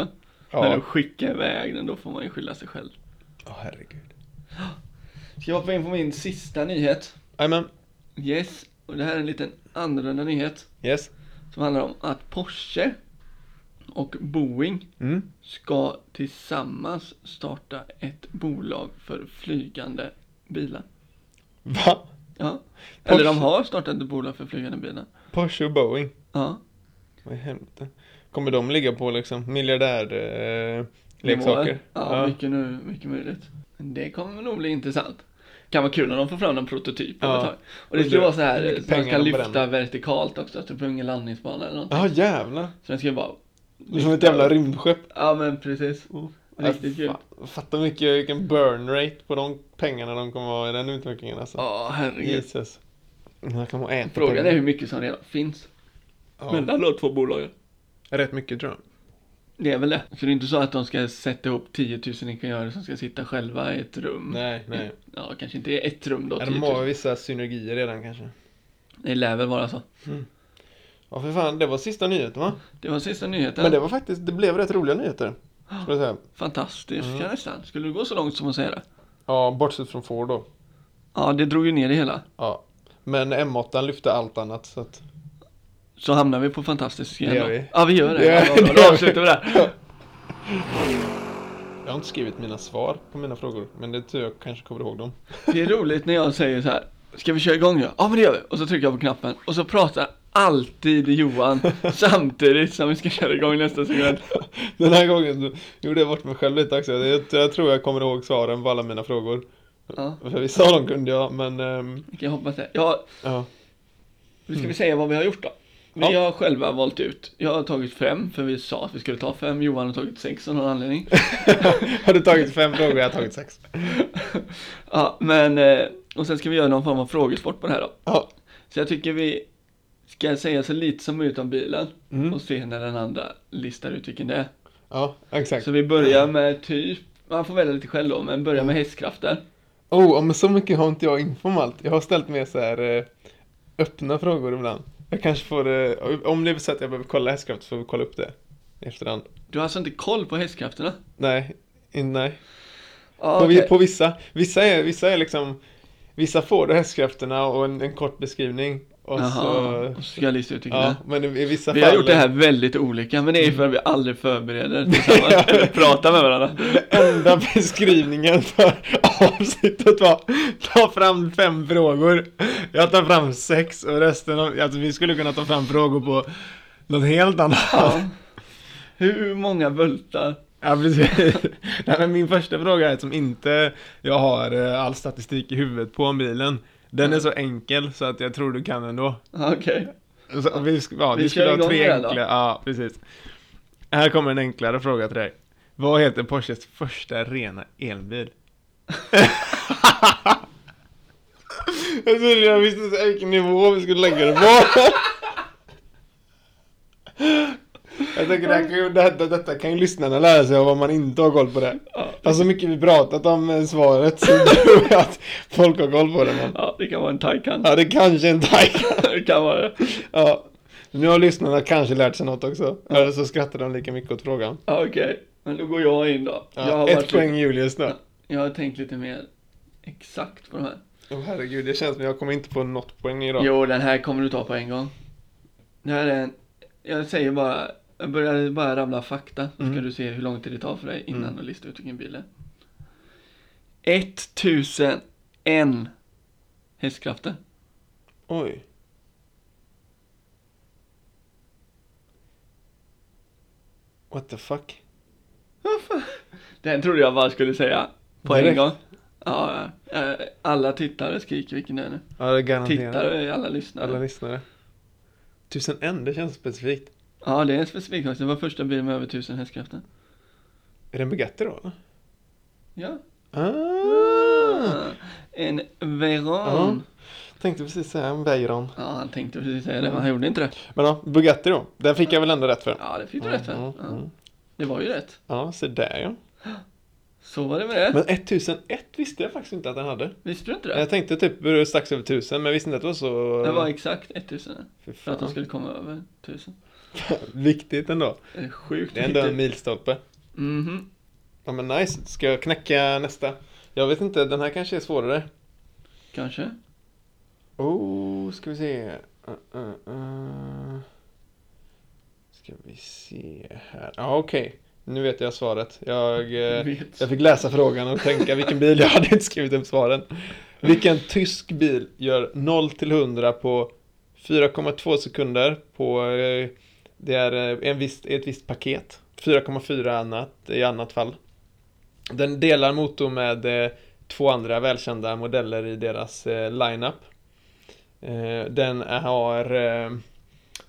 Speaker 1: När de
Speaker 2: Ja,
Speaker 1: skickar iväg den, då får man ju skylla sig själv.
Speaker 2: Åh herregud.
Speaker 1: Ska jag hoppa in på min sista nyhet?
Speaker 2: Jajamän,
Speaker 1: Yes, och det här är en liten annorlunda nyhet
Speaker 2: yes.
Speaker 1: som handlar om att Porsche och Boeing
Speaker 2: Mm.
Speaker 1: ska tillsammans starta ett bolag för flygande bilar.
Speaker 2: Va?
Speaker 1: Ja. Eller de
Speaker 2: Porsche.
Speaker 1: har startat ett bolag för flygande bilar.
Speaker 2: Porsche och Boeing.
Speaker 1: Ja.
Speaker 2: Vad i helvete. Kommer de ligga på liksom miljardär eh, leksaker?
Speaker 1: Nivåer. Ja, mycket, nu, mycket möjligt. Men det kommer nog bli intressant. Kan vara kul om de får fram någon prototyp
Speaker 2: Ja.
Speaker 1: ja. tag. Och det skulle
Speaker 2: Undrar
Speaker 1: vara så
Speaker 2: hur
Speaker 1: här
Speaker 2: mycket
Speaker 1: så man
Speaker 2: pengar
Speaker 1: kan
Speaker 2: de bränner.
Speaker 1: lyfta vertikalt också, typ ingen landningsbana eller någonting.
Speaker 2: Ja, jävlar.
Speaker 1: Så den ska bara...
Speaker 2: Som ett jävla rymdskepp.
Speaker 1: Ja men precis.
Speaker 2: Mm.
Speaker 1: Riktigt kul.
Speaker 2: Fa- Fatta mycket, vilken burn rate på de pengarna de kommer ha i den utvecklingen alltså.
Speaker 1: Ja, herregud.
Speaker 2: Jesus. Man kommer att äta
Speaker 1: Frågan
Speaker 2: pengar.
Speaker 1: är hur mycket som redan finns.
Speaker 2: Ja.
Speaker 1: Mellan de två bolagen.
Speaker 2: Rätt mycket tror jag.
Speaker 1: Det är väl det. Så det är inte så att de ska sätta ihop 10 000 ingenjörer som ska sitta själva i ett rum.
Speaker 2: Nej, nej.
Speaker 1: Ja, kanske inte i ett rum då.
Speaker 2: Ja,
Speaker 1: 10
Speaker 2: de har
Speaker 1: 000.
Speaker 2: vissa synergier redan kanske.
Speaker 1: Det lär väl vara så.
Speaker 2: Ja, för fan, det var sista nyheten va?
Speaker 1: Det var sista nyheten.
Speaker 2: Men det var faktiskt, det blev rätt roliga nyheter. Ska jag säga.
Speaker 1: Fantastiskt
Speaker 2: Mm.
Speaker 1: mm. nästan. Skulle du gå så långt som att säga det?
Speaker 2: Ja, bortsett från Ford då.
Speaker 1: Ja, det drog ju ner det hela.
Speaker 2: Ja. Men M8 lyfte allt annat så att...
Speaker 1: Så hamnar vi på fantastiskt igen
Speaker 2: Det gör
Speaker 1: då.
Speaker 2: vi.
Speaker 1: Ja, vi gör det.
Speaker 2: Det gör-
Speaker 1: Ja, bra, bra.
Speaker 2: det gör
Speaker 1: Då
Speaker 2: vi.
Speaker 1: avslutar vi det.
Speaker 2: Jag har inte skrivit mina svar på mina frågor, men det är tur jag kanske kommer ihåg dem.
Speaker 1: Det är roligt när jag säger så här. Ska vi köra igång då? Ja men det gör vi. Och så trycker jag på knappen och så pratar alltid Johan samtidigt som vi ska köra igång nästa sekund.
Speaker 2: Den här gången så gjorde jag bort mig själv lite också. Jag, jag tror jag kommer ihåg svaren på alla mina frågor.
Speaker 1: Ja,
Speaker 2: För vissa av dem kunde jag, men... ehm,
Speaker 1: vi kan hoppas det. Ja,
Speaker 2: ja.
Speaker 1: nu ska vi säga vad vi har gjort då. Vi
Speaker 2: Mm. Ja.
Speaker 1: har själva valt ut. Jag har tagit fem för vi sa att vi skulle ta fem. Johan har tagit sex av någon anledning.
Speaker 2: har du tagit fem frågor? Jag har tagit sex.
Speaker 1: Ja, men eh, och sen ska vi göra någon form av frågesport på det här då.
Speaker 2: Ja.
Speaker 1: Så jag tycker vi ska säga så lite som möjligt om bilen
Speaker 2: Mm.
Speaker 1: och se när den andra listar ut vilken det är.
Speaker 2: Ja, exakt.
Speaker 1: Så vi börjar med typ, man får välja lite själv då, men börja med
Speaker 2: Mm.
Speaker 1: hästkrafter.
Speaker 2: Oh, ja, men så mycket har inte jag info om allt. Jag har ställt mer så här eh, öppna frågor ibland. Jag kanske får... Eh, om det är så att jag behöver kolla hästkraft så får vi kolla upp det i efterhand.
Speaker 1: Du har alltså inte koll på hästkrafterna?
Speaker 2: Nej, in, nej.
Speaker 1: Ja,
Speaker 2: På, vi-
Speaker 1: okej.
Speaker 2: på vissa. Vissa är, vissa är liksom... Vissa får du hästkrafterna och en, en kort beskrivning. Och
Speaker 1: Jaha,
Speaker 2: så...
Speaker 1: och så ska jag lista ut vilken det
Speaker 2: Ja,
Speaker 1: är.
Speaker 2: men i, i vissa
Speaker 1: Vi
Speaker 2: fall...
Speaker 1: har gjort det här väldigt olika, men det är ju för att vi aldrig förbereder tillsammans, eller pratar med varandra.
Speaker 2: Enda beskrivningen för avsnittet var Ta fram fem frågor Jag tar fram sex och resten av, alltså vi skulle kunna ta fram frågor på Något helt annat
Speaker 1: Ja. Hur många bultar?
Speaker 2: Ja, precis. Nej, men min första fråga är som inte jag har eh, all statistik i huvudet på om bilen. Den är så enkel så att jag tror du kan ändå.
Speaker 1: Ja, Okej.
Speaker 2: Så, vi, sk- ja, vi,
Speaker 1: Vi kör
Speaker 2: skulle ha
Speaker 1: igång
Speaker 2: tre
Speaker 1: med den då.
Speaker 2: enkla. Ja, precis. Här kommer en enklare fråga till dig. Vad heter Porsches första rena elbil? jag, trodde jag visste inte vilken nivå vi skulle lägga det på. Jag tänker det här kan ju, detta, detta kan ju lyssnarna lära sig av om man inte har koll på det.
Speaker 1: Ja.
Speaker 2: Fast så mycket vi pratat om eh, svaret så tror jag att folk har koll på det. Men,
Speaker 1: Ja, det kan vara en Taycan.
Speaker 2: ja, det kanske är en Taycan.
Speaker 1: Det kan vara det.
Speaker 2: Ja. Nu har lyssnarna kanske lärt sig något också. Eller så skrattar de lika mycket åt frågan.
Speaker 1: Ja, Okej, men då går jag in då.
Speaker 2: Ja,
Speaker 1: jag, har
Speaker 2: ett
Speaker 1: varit
Speaker 2: poäng
Speaker 1: lite,
Speaker 2: Julius nu.
Speaker 1: jag har tänkt lite mer exakt på de här.
Speaker 2: Åh herregud, det känns som jag kommer inte på något poäng idag.
Speaker 1: Jo, den här kommer du ta på en gång. Det här är en... Jag säger bara... Jag börjar bara ramla fakta. Så
Speaker 2: Mm.
Speaker 1: ska du se hur lång tid det tar för dig innan
Speaker 2: Mm.
Speaker 1: du listar ut vilken bil det är. 1001 hästkrafter.
Speaker 2: Oj. What the fuck?
Speaker 1: Den trodde jag bara skulle säga på en
Speaker 2: Direkt.
Speaker 1: gång. Ja, ja. Eh, alla tittare skriker vilken det är nu.
Speaker 2: Ja, det garanterar
Speaker 1: Tittare är alla lyssnare.
Speaker 2: alla lyssnare. Tusen en, det känns specifikt.
Speaker 1: Ja, det är en specifik sak. Det var första bilen med över 1000 hästkrafter.
Speaker 2: Är det en Bugatti då? eller?
Speaker 1: Ja.
Speaker 2: Ah!
Speaker 1: En Veron.
Speaker 2: Tänkte precis säga en Veyron.
Speaker 1: Ja, han tänkte precis säga det, men han gjorde inte det.
Speaker 2: Men ja, Bugatti då. Den fick jag väl ändå rätt för.
Speaker 1: Ja, det fick du rätt för.
Speaker 2: Mm,
Speaker 1: Ja,
Speaker 2: mm.
Speaker 1: det var ju rätt.
Speaker 2: Ja, så där ja.
Speaker 1: Så var det med det.
Speaker 2: Men 1001 visste jag faktiskt inte att den hade.
Speaker 1: Visste du inte det?
Speaker 2: Jag tänkte typ strax över 1000 men visste inte att det var så...
Speaker 1: Det var exakt 1000
Speaker 2: Fy
Speaker 1: för att de
Speaker 2: fan.
Speaker 1: skulle komma över 1000.
Speaker 2: Viktigt ändå.
Speaker 1: Det är sjukt
Speaker 2: Det är ändå en
Speaker 1: mycket.
Speaker 2: milstolpe.
Speaker 1: Mhm.
Speaker 2: Ja men nice. Ska jag knäcka nästa? Jag vet inte, den här kanske är svårare.
Speaker 1: Kanske.
Speaker 2: Oh, ska vi se. Uh, uh, uh. Ska vi se här. Ja, okej. Nu vet jag svaret. Jag, eh,
Speaker 1: Vet.
Speaker 2: jag fick läsa frågan och tänka vilken bil. Jag hade inte skrivit upp svaren. Vilken tysk bil gör 0 till 100 på 4,2 sekunder på eh, det är eh, en viss, ett visst paket. 4,4 annat, i annat fall. Den delar motor med eh, två andra välkända modeller i deras eh, lineup. Eh, den har eh,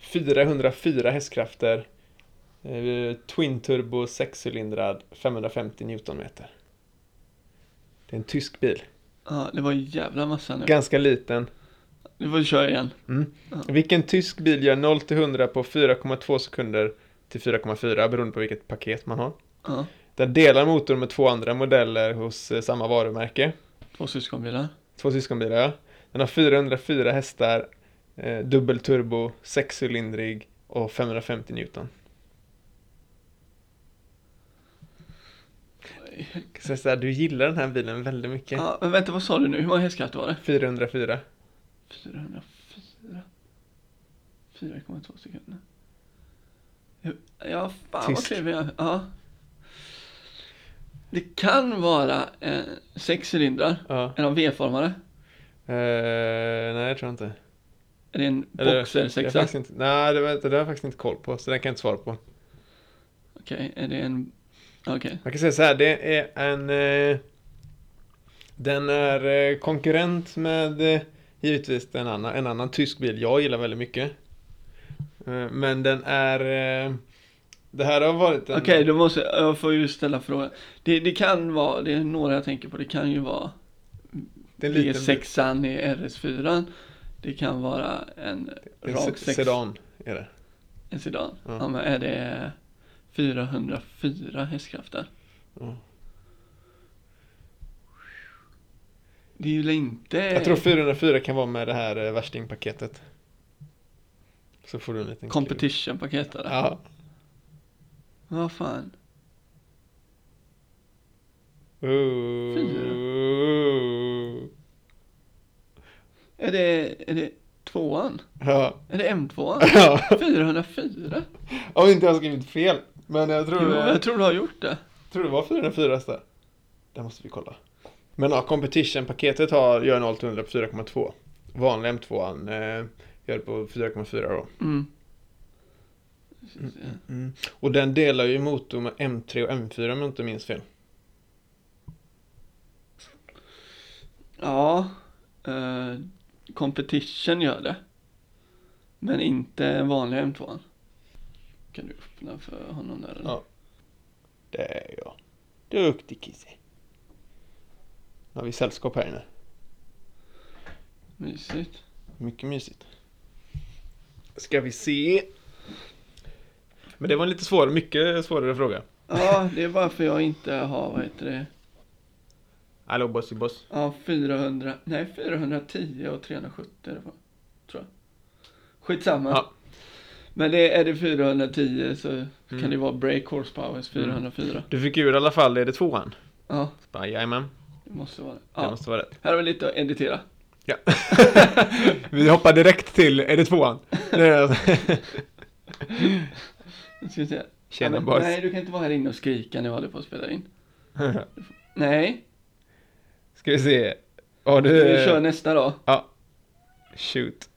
Speaker 2: 404 hästkrafter, eh, twin turbo sexcylindrad, 550 newtonmeter. Det är en tysk bil,
Speaker 1: Ja, det var en jävla massa nu.
Speaker 2: ganska liten.
Speaker 1: Nu får vi köra igen.
Speaker 2: Mm.
Speaker 1: Ja.
Speaker 2: Vilken tysk bil gör 0 till 100 på 4,2 sekunder till 4,4 beroende på vilket paket man har?
Speaker 1: Ja,
Speaker 2: Den delar motor med två andra modeller hos eh, samma varumärke.
Speaker 1: två syskonbilar.
Speaker 2: Två syskonbilar, ja. Den har 404 hästar, eh, dubbelturbo, sexcylindrig och 550 Newton.
Speaker 1: Oj.
Speaker 2: Så så här, du gillar den här bilen väldigt mycket.
Speaker 1: Ja, men vänta, vad sa du nu? Hur många hästkrafter var det?
Speaker 2: 404.
Speaker 1: 404 4,2 sekunder. Hur- Ja, fan vad
Speaker 2: Tysk.
Speaker 1: trevlig jag Ja. Det kan vara eh, sex cylindrar.
Speaker 2: Ja.
Speaker 1: Är de V-formade?
Speaker 2: Eh, nej, det tror jag inte.
Speaker 1: Är det en
Speaker 2: Eller- det är
Speaker 1: boxersexa?
Speaker 2: faktiskt inte. Nej, det, vet- det har jag faktiskt inte koll på, så den kan jag inte svara på.
Speaker 1: Okej, är det en... Okej.
Speaker 2: Man kan säga så här, det är en... Eh, den är eh, konkurrent med eh, givetvis en annan, en annan tysk bil jag gillar väldigt mycket. Eh, men den är... Eh, det här har varit en...
Speaker 1: Okej, då måste jag... Jag får ju ställa frågan. Det, det kan vara... Det är några jag tänker på. Det kan ju vara
Speaker 2: det är en liten bil.
Speaker 1: V6an i RS4. Det kan vara
Speaker 2: En
Speaker 1: en
Speaker 2: se-
Speaker 1: rak 6.
Speaker 2: Sedan är det.
Speaker 1: En sedan?
Speaker 2: Ja.
Speaker 1: Ja. men är det 404 hästkrafter?
Speaker 2: Ja.
Speaker 1: Det är ju inte...
Speaker 2: Jag tror 404 kan vara med det här eh, värstingpaketet. Så får du en liten klubb.
Speaker 1: Competition-paket eller?
Speaker 2: Ja.
Speaker 1: Vad fan?
Speaker 2: Ooh.
Speaker 1: Är det, är det tvåan?
Speaker 2: Ja.
Speaker 1: Är det M2an?
Speaker 2: Ja.
Speaker 1: 404?
Speaker 2: Om inte jag har skrivit fel. Men jag tror,
Speaker 1: Jo,
Speaker 2: det-
Speaker 1: jag tror du har gjort det.
Speaker 2: tror det var 404 hästar. Det måste vi kolla. Men ja, competition-paketet har, gör 0 till 100 på 4,2. Vanliga M2 eh, gör det på 4,4 då.
Speaker 1: Mm.
Speaker 2: Mm. Och den delar ju motor med M3 och M4 om jag inte minns fel.
Speaker 1: Ja, eh, competition gör det. Men inte vanliga M2. Kan du öppna för honom där eller?
Speaker 2: Ja. Det är jag. Duktig Kisse. Nu har vi sällskap här inne.
Speaker 1: Mysigt.
Speaker 2: Mycket mysigt. Ska vi se. Men det var en lite svårare, mycket svårare fråga.
Speaker 1: Ja, det är varför jag inte har, vad heter det?
Speaker 2: Hallå Bossy Boss.
Speaker 1: Ja, 400, nej 410 och 370 det var, tror jag. Skitsamma.
Speaker 2: Ja.
Speaker 1: Men det, är det 410 så kan
Speaker 2: Mm.
Speaker 1: det vara break horsepower 404.
Speaker 2: Du fick ur i alla fall, är det tvåan?
Speaker 1: Ja,
Speaker 2: Så bara, Jajamän,
Speaker 1: det måste vara det.
Speaker 2: det
Speaker 1: Ja.
Speaker 2: måste vara rätt.
Speaker 1: Här har vi lite att editera.
Speaker 2: Ja. vi hoppar direkt till, är det tvåan?
Speaker 1: Nu Ska vi se.
Speaker 2: Tjena
Speaker 1: ja, men,
Speaker 2: boys.
Speaker 1: Nej, du kan inte vara här inne och skrika när jag håller på att spela in. Nej,
Speaker 2: Ska vi se. Har du...
Speaker 1: vi kör nästa då.
Speaker 2: Ja. Shoot.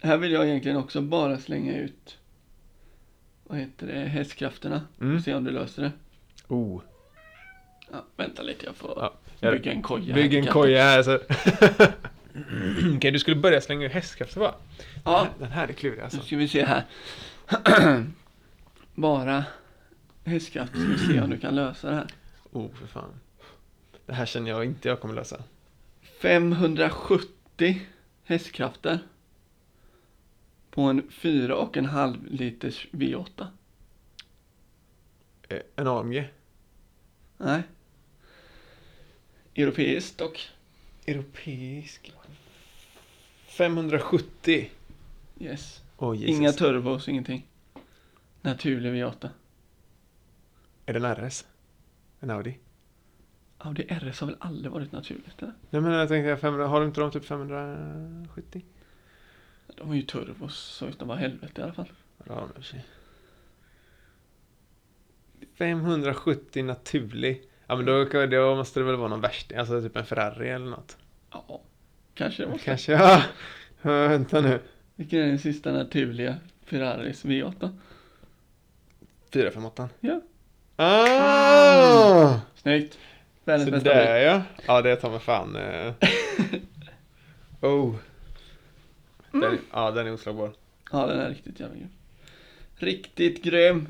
Speaker 1: Här vill jag egentligen också bara slänga ut vad heter det, hästkrafterna.
Speaker 2: Mm.
Speaker 1: Mm. Se om du löser det.
Speaker 2: Oh.
Speaker 1: Ja, vänta lite, jag får
Speaker 2: Ja.
Speaker 1: bygga en koja. här
Speaker 2: Bygg en
Speaker 1: i
Speaker 2: koja här så. Okej, du skulle börja slänga ur hästkrafter va?
Speaker 1: kanten. Ja,
Speaker 2: Den här är klurig
Speaker 1: nu
Speaker 2: alltså.
Speaker 1: ska vi se här. bara hästkraft, ska vi se om du kan lösa det här.
Speaker 2: Oh, för fan. Det här känner jag inte jag kommer lösa.
Speaker 1: 570 hästkrafter på en 4,5 liters V8.
Speaker 2: Eh, En AMG.
Speaker 1: Nej. Europeiskt dock.
Speaker 2: Europeisk. 570.
Speaker 1: Yes.
Speaker 2: Oh, Jesus.
Speaker 1: Inga turbos, ingenting. Naturlig V8.
Speaker 2: Är det en RS? En Audi?
Speaker 1: Audi RS har väl aldrig varit naturligt eller?
Speaker 2: Nej men jag tänkte, 500, har du inte de typ 570?
Speaker 1: De har ju turbos så utan vad helvete i alla fall.
Speaker 2: Ja, de i och för sig. 570 naturlig. Ja men då, kan- då måste det väl vara någon värsting, alltså typ en Ferrari eller något.
Speaker 1: Ja, kanske det var.
Speaker 2: Kanske, ja. Ja, Vänta nu.
Speaker 1: Vilken är den sista naturliga Ferraris V8?
Speaker 2: 458.
Speaker 1: Ja.
Speaker 2: Ah!
Speaker 1: Snyggt! Världens bästa
Speaker 2: Sådär
Speaker 1: bil.
Speaker 2: ja. Ja det tar mig fan. eh. Oh. Den, ja den är oslagbart.
Speaker 1: Ja, den är riktigt jävla grym. Riktigt grym!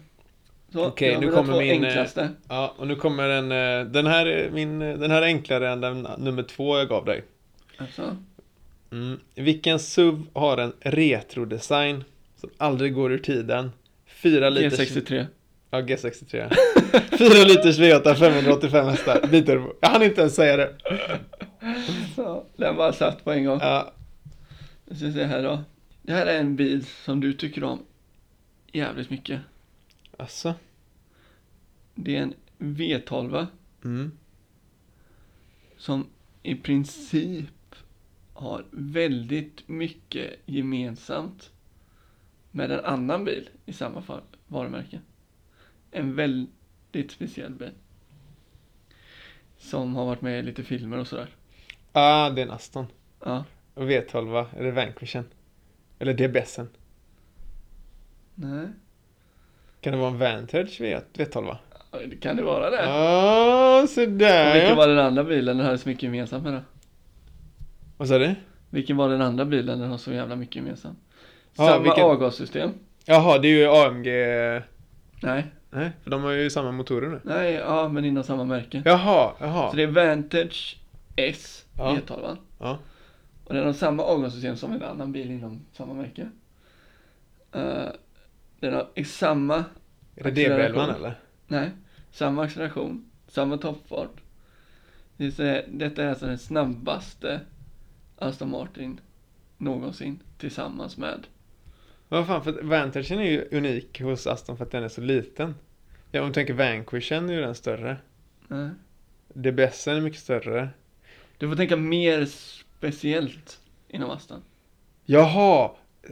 Speaker 1: Så,
Speaker 2: Okej,
Speaker 1: jag
Speaker 2: nu
Speaker 1: vill ha
Speaker 2: kommer
Speaker 1: två
Speaker 2: min, eh,
Speaker 1: enklaste.
Speaker 2: Ja, och nu kommer den, eh, den här är min, eh, den här är enklare än den nummer två jag gav dig.
Speaker 1: Alltså,
Speaker 2: Mm. Vilken SUV har en retrodesign som aldrig går ur tiden? 4
Speaker 1: E
Speaker 2: liters...
Speaker 1: G63.
Speaker 2: Ja, G63. 4 liters V8, 585 hästar. Biturbo. Jag hann inte ens säga det.
Speaker 1: Så, den bara satt på en gång.
Speaker 2: Ja,
Speaker 1: Jag ska se här då. Det här är en bil som du tycker om jävligt mycket.
Speaker 2: alltså.
Speaker 1: Det är en V12
Speaker 2: Mm.
Speaker 1: som i princip har väldigt mycket gemensamt med en annan bil i samma fa- varumärke. En väldigt speciell bil. Som har varit med i lite filmer och sådär.
Speaker 2: Ah, det är en Aston.
Speaker 1: Ja,
Speaker 2: Och V12, är det Vanquishen? Eller DBSen?
Speaker 1: nej.
Speaker 2: Kan det vara en Vantage V- V12?
Speaker 1: Ja, det Kan det vara det?
Speaker 2: Ah,
Speaker 1: Och
Speaker 2: sådär
Speaker 1: vilken
Speaker 2: ja.
Speaker 1: var den andra bilen den hade så mycket gemensamt med då?
Speaker 2: Vad sa du?
Speaker 1: Vilken var den andra bilen den har så jävla mycket gemensamt?
Speaker 2: Ja,
Speaker 1: Samma
Speaker 2: vilken-
Speaker 1: avgassystem?
Speaker 2: Jaha, det är ju AMG...
Speaker 1: Nej,
Speaker 2: Nej, för de har ju samma motorer nu.
Speaker 1: nej, ja men inom samma märke.
Speaker 2: Jaha,
Speaker 1: Så
Speaker 2: jaha.
Speaker 1: det är Vantage S,
Speaker 2: Ja.
Speaker 1: E12.
Speaker 2: Ja.
Speaker 1: Och den har samma avgassystem som en annan bil inom samma märke. Eh, den har i samma,
Speaker 2: Är det DB11 eller?
Speaker 1: nej, samma acceleration, samma toppfart. Det vill säga, Detta är alltså den snabbaste Aston Martin någonsin tillsammans med
Speaker 2: Vad fan, för att Vantagen är ju unik hos Aston för att den är så liten. Ja, om du tänker Vanquishen är ju den större.
Speaker 1: nej.
Speaker 2: DBSen är mycket större.
Speaker 1: Du får tänka mer speciellt inom Aston.
Speaker 2: Jaha! Eh,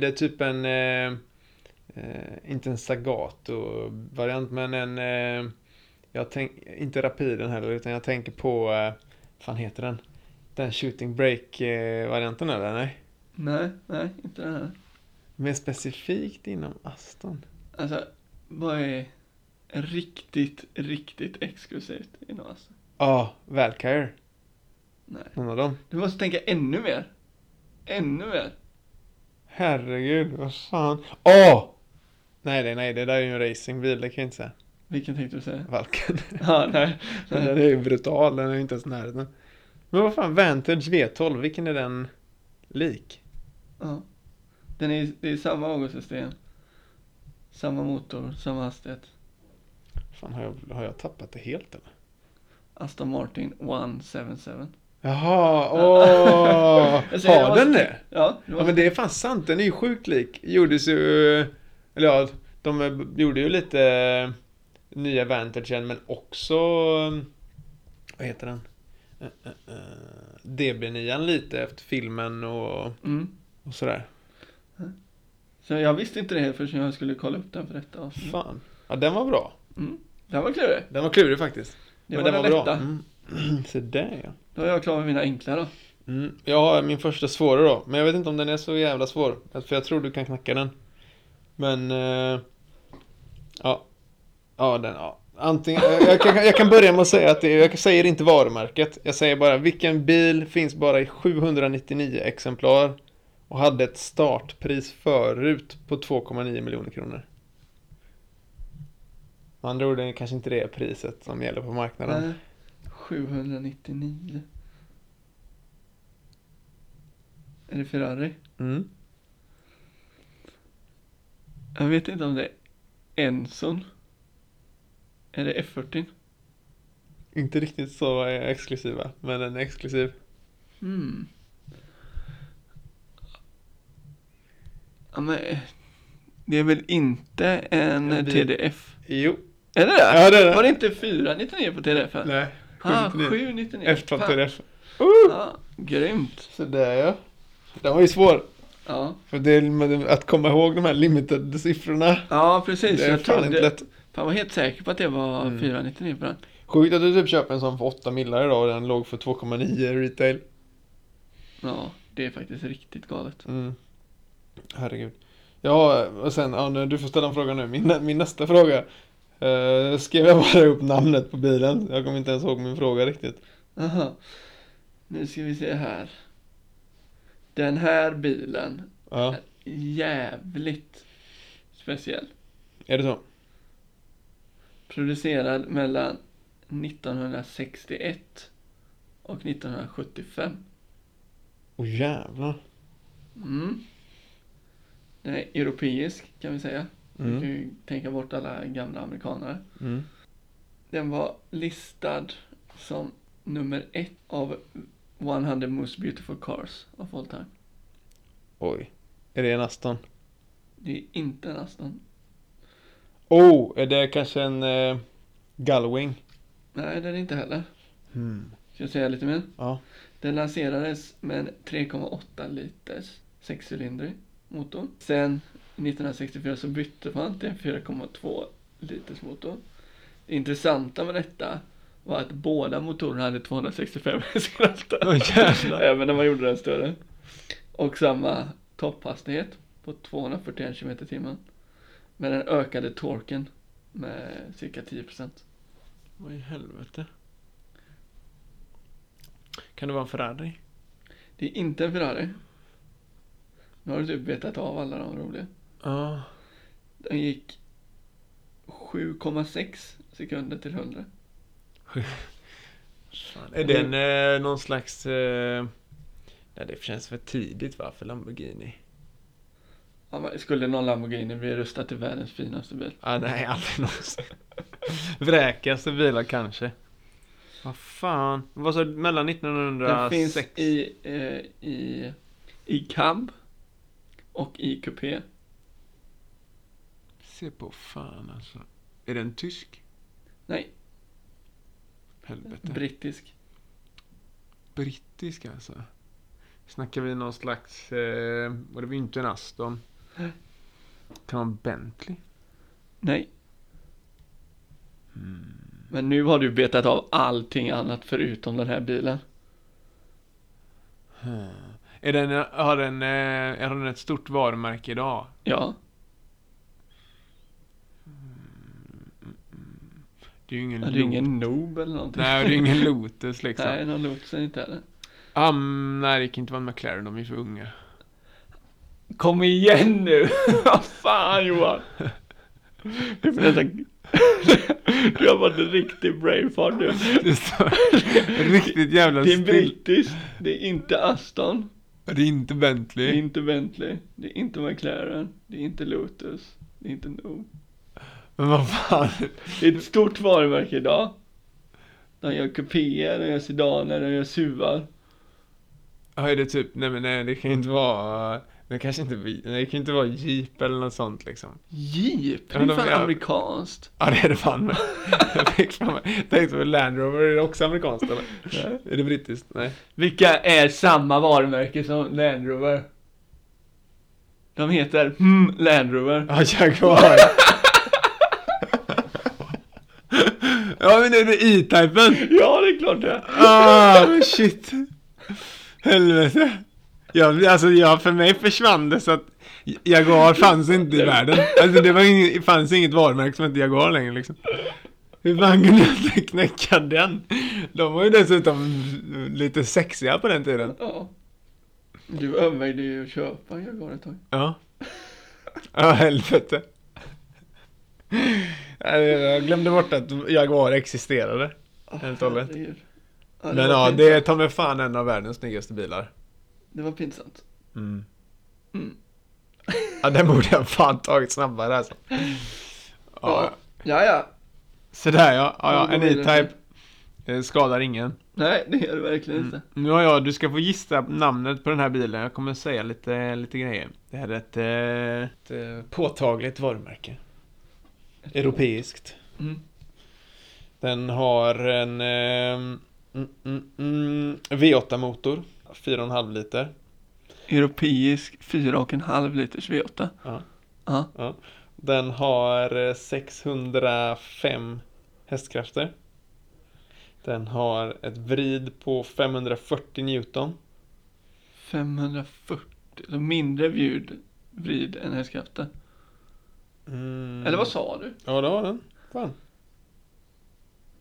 Speaker 2: det är typ en... Eh, eh, inte en Sagato-variant, men en... Eh, jag tänk, inte Rapiden heller, utan jag tänker på... Eh, vad fan heter den? Den Shooting Break-varianten eller? Nej?
Speaker 1: Nej, nej, inte den här.
Speaker 2: Mer specifikt inom Aston.
Speaker 1: Alltså, vad är riktigt, riktigt exklusivt idag alltså?
Speaker 2: Ja, Valkyrie.
Speaker 1: Nej.
Speaker 2: Någon av dem.
Speaker 1: Du måste tänka ännu mer. Ännu mer.
Speaker 2: Herregud, vad fan. Åh! Nej, nej, nej, det där är ju en racingbil, det kan jag inte säga.
Speaker 1: Vilken tänkte du säga?
Speaker 2: Valken.
Speaker 1: Ja, nej.
Speaker 2: Den där är ju brutal, den är ju inte ens i närheten. Men vad fan, Vantage V12, vilken är den lik?
Speaker 1: Ja. Den är, det är samma avgassystem. Samma motor, samma hastighet.
Speaker 2: Fan, har jag, har jag tappat det helt eller?
Speaker 1: Aston Martin 177.
Speaker 2: Jaha, åh!
Speaker 1: Jag säger, jag
Speaker 2: har den
Speaker 1: måste-
Speaker 2: det?
Speaker 1: Ja, det
Speaker 2: Ja men det är fan sant, den är ju sjukt lik. Gjordes ju, eller ja, de eh, gjorde ju lite eh, nya Vantagen men också, eh, vad heter den? Eh, eh, eh, DB9 lite efter filmen och,
Speaker 1: Mm.
Speaker 2: och sådär.
Speaker 1: Så jag visste inte det här förrän jag skulle kolla upp den för detta avsnitt.
Speaker 2: Fan. Ja den var bra.
Speaker 1: Mm. Den var klurig.
Speaker 2: Den var klurig faktiskt.
Speaker 1: Det var den lätta.
Speaker 2: Mm. Så där ja.
Speaker 1: Då är jag klar med mina enkla då.
Speaker 2: Mm. Jag har min första svåra då, men jag vet inte om den är så jävla svår. För jag tror du kan knacka den. Men... eh, ja. Ja, den... Ja. Antingen, jag, jag, kan, jag kan börja med att säga att det, jag säger inte varumärket. Jag säger bara vilken bil finns bara i 799 exemplar och hade ett startpris förut på 2,9 miljoner kronor. Med andra ord, det är kanske inte det priset som gäller på marknaden.
Speaker 1: Nej. 799. Är det Ferrari?
Speaker 2: Mm.
Speaker 1: Jag vet inte om det är Enson. Är det F40?
Speaker 2: Inte riktigt så eh, exklusiva, men den är exklusiv. Mm.
Speaker 1: Hmm. Ja, men eh, det är väl inte en
Speaker 2: En bil.
Speaker 1: TDF?
Speaker 2: Jo.
Speaker 1: Är det det?
Speaker 2: Ja, det är det.
Speaker 1: Var det inte 499 på TDF? -en?
Speaker 2: Nej.
Speaker 1: Ah,
Speaker 2: 799.
Speaker 1: 799.
Speaker 2: Efter
Speaker 1: Fan.
Speaker 2: att det är uh!
Speaker 1: Ja, grymt.
Speaker 2: Så där ja. Den var ju svår.
Speaker 1: Ja,
Speaker 2: För det är, men att komma ihåg de här limited siffrorna.
Speaker 1: ja precis.
Speaker 2: Det är
Speaker 1: jag
Speaker 2: fan
Speaker 1: trodde,
Speaker 2: inte lätt.
Speaker 1: Fan, jag var helt säker på att det var
Speaker 2: Mm.
Speaker 1: 499 på den.
Speaker 2: Sjukt att du typ köper en sån för 8 millar idag och den låg för 2,9 retail.
Speaker 1: Ja, det är faktiskt riktigt galet.
Speaker 2: Mm. Herregud. Ja, och sen, ja, nu, du får ställa en fråga nu. Min, nä- min nästa fråga. Eh, skrev jag bara upp namnet på bilen? Jag kommer inte ens ihåg min fråga riktigt.
Speaker 1: Aha. Nu ska vi se här. Den här bilen
Speaker 2: Ja,
Speaker 1: är jävligt speciell.
Speaker 2: är det så?
Speaker 1: Producerad mellan 1961 och 1975.
Speaker 2: Åh jävlar.
Speaker 1: Mm. Den är europeisk kan vi säga. Vi kan
Speaker 2: Mm.
Speaker 1: ju tänka bort alla gamla amerikanare.
Speaker 2: Mm.
Speaker 1: Den var listad som nummer ett av 100 Most Beautiful Cars of All Time.
Speaker 2: Oj. Är det en Aston?
Speaker 1: Det är inte en Aston.
Speaker 2: Oh, är det kanske en eh, Gullwing?
Speaker 1: Nej, det är det inte heller.
Speaker 2: Hmm.
Speaker 1: Ska jag säga lite mer?
Speaker 2: Ja.
Speaker 1: Den lanserades med en 3,8 liters sexcylindrig motor. Sen 1964 så bytte man till en 4,2 liters motor. Det intressanta med detta var att båda motorerna hade 265 hästkrafter.
Speaker 2: Åh, jävlar.
Speaker 1: Även när man gjorde den större. Och samma topphastighet på 241 km timmen. Men den ökade torken med cirka 10%.
Speaker 2: Vad i helvete? Kan det vara en Ferrari?
Speaker 1: Det är inte en Ferrari. Nu har du typ betat av alla de roliga.
Speaker 2: Ja.
Speaker 1: Den gick 7,6 sekunder till 100.
Speaker 2: Är den eh, någon slags... Eh... Nej, det känns för tidigt va, för Lamborghini?
Speaker 1: Ja, men skulle någon Lamborghini bli röstad till världens finaste bil?
Speaker 2: Ah, nej, aldrig någonsin. Vräkigaste bilar kanske. Vad fan? Vad sa du? Mellan
Speaker 1: Den
Speaker 2: 1906?
Speaker 1: finns i, eh, i, i cab och i kupé.
Speaker 2: Se på fan alltså. Är den tysk?
Speaker 1: Nej,
Speaker 2: Helvete.
Speaker 1: brittisk.
Speaker 2: brittisk alltså. Snackar vi någon slags, eh, och det var ju inte en Aston.
Speaker 1: Nej.
Speaker 2: Kan vara en Bentley?
Speaker 1: Nej.
Speaker 2: Hmm.
Speaker 1: Men nu har du betat av allting annat förutom den här bilen.
Speaker 2: Är den, har den, eh, är den ett stort varumärke idag?
Speaker 1: Ja,
Speaker 2: Det är ju ingen,
Speaker 1: Ja, det är ingen Noob eller någonting.
Speaker 2: Nej, och det är ingen Lotus liksom.
Speaker 1: Nej, någon Lotus är det inte heller.
Speaker 2: Um, nej, det kan inte vara en McLaren, de är för unga.
Speaker 1: Kom igen nu! Vad fan Johan! Du får nästan- Du har varit en riktig brain fart nu.
Speaker 2: Det står riktigt jävla
Speaker 1: Det är
Speaker 2: still.
Speaker 1: brittiskt, det är inte Aston,
Speaker 2: Det är inte
Speaker 1: det är
Speaker 2: Bentley.
Speaker 1: inte Bentley, det är inte McLaren, det är inte Lotus, det är inte Noob.
Speaker 2: Men vad fan.
Speaker 1: Det är ett stort varumärke idag. De gör kupéer, de gör sedaner, de gör suvar.
Speaker 2: Ja, är det typ, nej men nej, det kan ju inte vara, det kanske inte, vi- nej, det kan ju inte vara Jeep eller något sånt liksom.
Speaker 1: Jeep, det
Speaker 2: Ja,
Speaker 1: är
Speaker 2: de
Speaker 1: fan
Speaker 2: gör-
Speaker 1: amerikanskt.
Speaker 2: Ja, det är det fan med. Jag fick fram, tänkte på Land Rover, är det också amerikanskt eller?
Speaker 1: Nej.
Speaker 2: Är det brittiskt? Nej.
Speaker 1: Vilka är samma varumärke som Land Rover? De heter hmm, Land Rover.
Speaker 2: Ja, Jaguar. ja, men är det E-Typen?
Speaker 1: Ja, det är klart det.
Speaker 2: Ah, men shit. Helvete. Jag, alltså, jag, för mig försvann det så att Jaguar fanns inte i världen. Alltså det var ing, det fanns inget varumärke som hette Jaguar längre liksom. Hur fan kunde jag inte knäcka den? De var ju dessutom lite sexiga på den tiden.
Speaker 1: Ja. Du övervägde ju att köpa en Jaguar ett tag.
Speaker 2: Ja. Ja, helvete. Nej, Jag glömde bort att Jaguar existerade. Helt och hållet.
Speaker 1: Herregud. Ja, det
Speaker 2: Men
Speaker 1: var
Speaker 2: ja, det är
Speaker 1: pinsamt.
Speaker 2: ta mig fan en av världens snyggaste bilar.
Speaker 1: det var pinsamt.
Speaker 2: Mm.
Speaker 1: Mm.
Speaker 2: Ja, den borde jag fan tagit snabbare alltså. Ja,
Speaker 1: Ja, ja. ja.
Speaker 2: sådär ja. ja,
Speaker 1: Ja,
Speaker 2: ja.
Speaker 1: då
Speaker 2: En
Speaker 1: blir det
Speaker 2: E-Type eh, skadar ingen.
Speaker 1: Nej, det gör det verkligen
Speaker 2: Mm.
Speaker 1: inte.
Speaker 2: Nu har jag, du ska få gissa namnet på den här bilen. Jag kommer säga lite, lite grejer. Det här är ett, eh, ett eh, påtagligt varumärke. Europeiskt.
Speaker 1: Mm.
Speaker 2: Den har en eh, mm, mm, mm, V8-motor, 4,5 liter.
Speaker 1: Europeisk 4,5 liters V8.
Speaker 2: Ja.
Speaker 1: Ja.
Speaker 2: Den har eh, 605 hästkrafter. Den har ett vrid på 540 Newton.
Speaker 1: 540, så mindre bjud vrid än hästkraften.
Speaker 2: Mm.
Speaker 1: Eller vad sa du?
Speaker 2: Ja, det har den. Fan.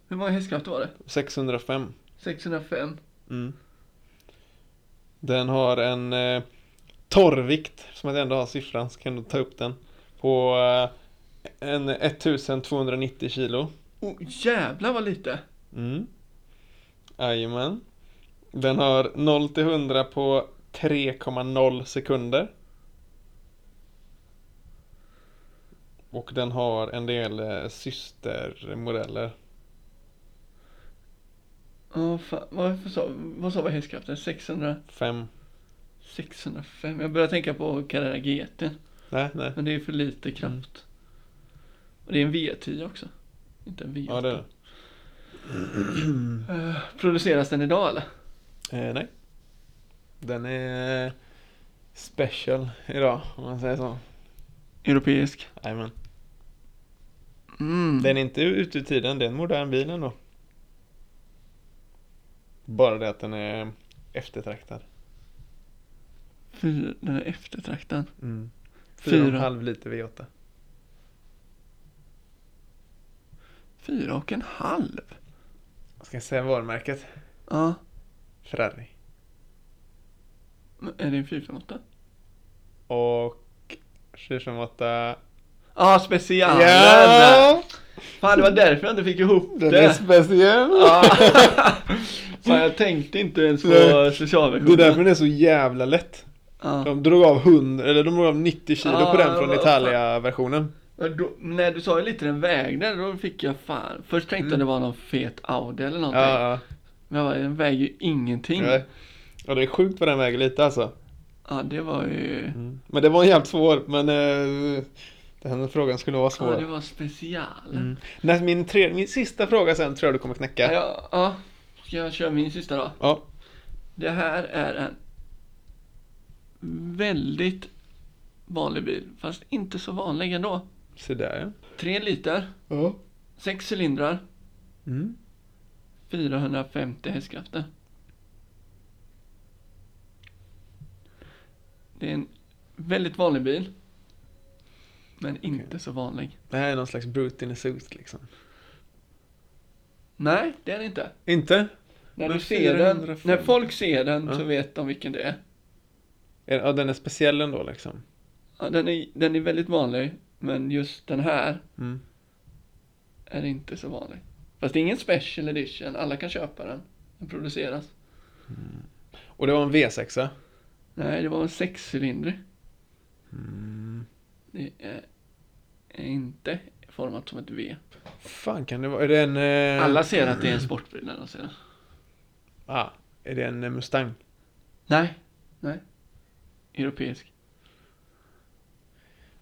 Speaker 1: Hur många hästkrafter var det?
Speaker 2: 605.
Speaker 1: 605.
Speaker 2: Mm. Den har en eh, torrvikt, som att jag ändå har siffran så kan du ta upp den, på eh, en 1290 kilo.
Speaker 1: Oh, jävlar vad lite!
Speaker 2: Mm. Jajamän. Den har 0 till 100 på 3,0 sekunder. Och den har en del eh, systermodeller.
Speaker 1: Oh, fan. Vad, sa, vad sa var hästkraften? 600?
Speaker 2: Fem.
Speaker 1: 605? Jag börjar tänka på Carrera GT.
Speaker 2: Nej, nej.
Speaker 1: Men det är för lite kraft. Och det är en V10 också. Inte en V8.
Speaker 2: Ja, det är det.
Speaker 1: Eh, produceras den idag eller?
Speaker 2: Eh, nej. Den är special idag, om man säger så.
Speaker 1: Europeisk.
Speaker 2: Jajamän.
Speaker 1: Mm.
Speaker 2: Den är inte ute ur tiden, det är en modern bil ändå. Bara det att den är eftertraktad.
Speaker 1: Fyra, den är eftertraktad.
Speaker 2: Mm.
Speaker 1: Fyra.
Speaker 2: 4,5 liter V8.
Speaker 1: Fyra och en halv?
Speaker 2: Ska jag säga varumärket?
Speaker 1: Ja.
Speaker 2: Ferrari.
Speaker 1: Men är det en 458?
Speaker 2: Och 458...
Speaker 1: Ja, ah, specialen! Fan, det var därför jag inte fick ihop
Speaker 2: Den är
Speaker 1: det.
Speaker 2: speciell!
Speaker 1: Ja. Fan, jag tänkte inte ens på
Speaker 2: Nej. Det
Speaker 1: specialversionen.
Speaker 2: är därför den är så jävla lätt.
Speaker 1: Ja.
Speaker 2: De drog av 100, eller de drog av 90 kilo
Speaker 1: Ah,
Speaker 2: på den från
Speaker 1: vad
Speaker 2: Italia-versionen.
Speaker 1: Men då, när du sa hur lite den vägde, då fick jag fan. Först tänkte jag
Speaker 2: Mm.
Speaker 1: det var någon fet Audi eller någonting.
Speaker 2: Ja, ja.
Speaker 1: Men jag bara, den väger ju ingenting.
Speaker 2: Nej. Ja, det är sjukt vad den väger lite alltså.
Speaker 1: Ja, det var ju...
Speaker 2: Men det var jävligt svår, men eh, den frågan skulle vara
Speaker 1: Ja,
Speaker 2: svår.
Speaker 1: det var special.
Speaker 2: Mm. Nej, min, tre, min sista fråga sen tror jag du kommer
Speaker 1: Ja,
Speaker 2: knäcka. Ja.
Speaker 1: ja, ja. Ska jag köra min sista då? Det här är en väldigt vanlig bil, fast inte så vanlig ändå.
Speaker 2: Så där
Speaker 1: Tre liter,
Speaker 2: ja. Ja.
Speaker 1: sex cylindrar,
Speaker 2: Mm.
Speaker 1: 450 hästkrafter. Det är en väldigt vanlig bil. Men inte så vanlig.
Speaker 2: Det här är någon slags brute in a suit liksom.
Speaker 1: Nej, det är det inte.
Speaker 2: Inte?
Speaker 1: När
Speaker 2: Men
Speaker 1: du ser den,
Speaker 2: 405.
Speaker 1: när folk ser den så
Speaker 2: Ja.
Speaker 1: vet de vilken det är.
Speaker 2: Är- Ja, den är speciell ändå liksom.
Speaker 1: Ja, den, är den är väldigt vanlig, men just den här
Speaker 2: Mm.
Speaker 1: är inte så vanlig. Fast det är ingen special edition, alla kan köpa den. Den produceras.
Speaker 2: Och det var en V6 a
Speaker 1: Nej, det var en sexcylindrig.
Speaker 2: mm.
Speaker 1: Det är är inte format som ett V.
Speaker 2: fan kan det vara? Är det en... Eh...
Speaker 1: Alla ser att det är en sportbil när de ser den.
Speaker 2: Ah, är det en eh, Mustang?
Speaker 1: Nej, nej. Europeisk.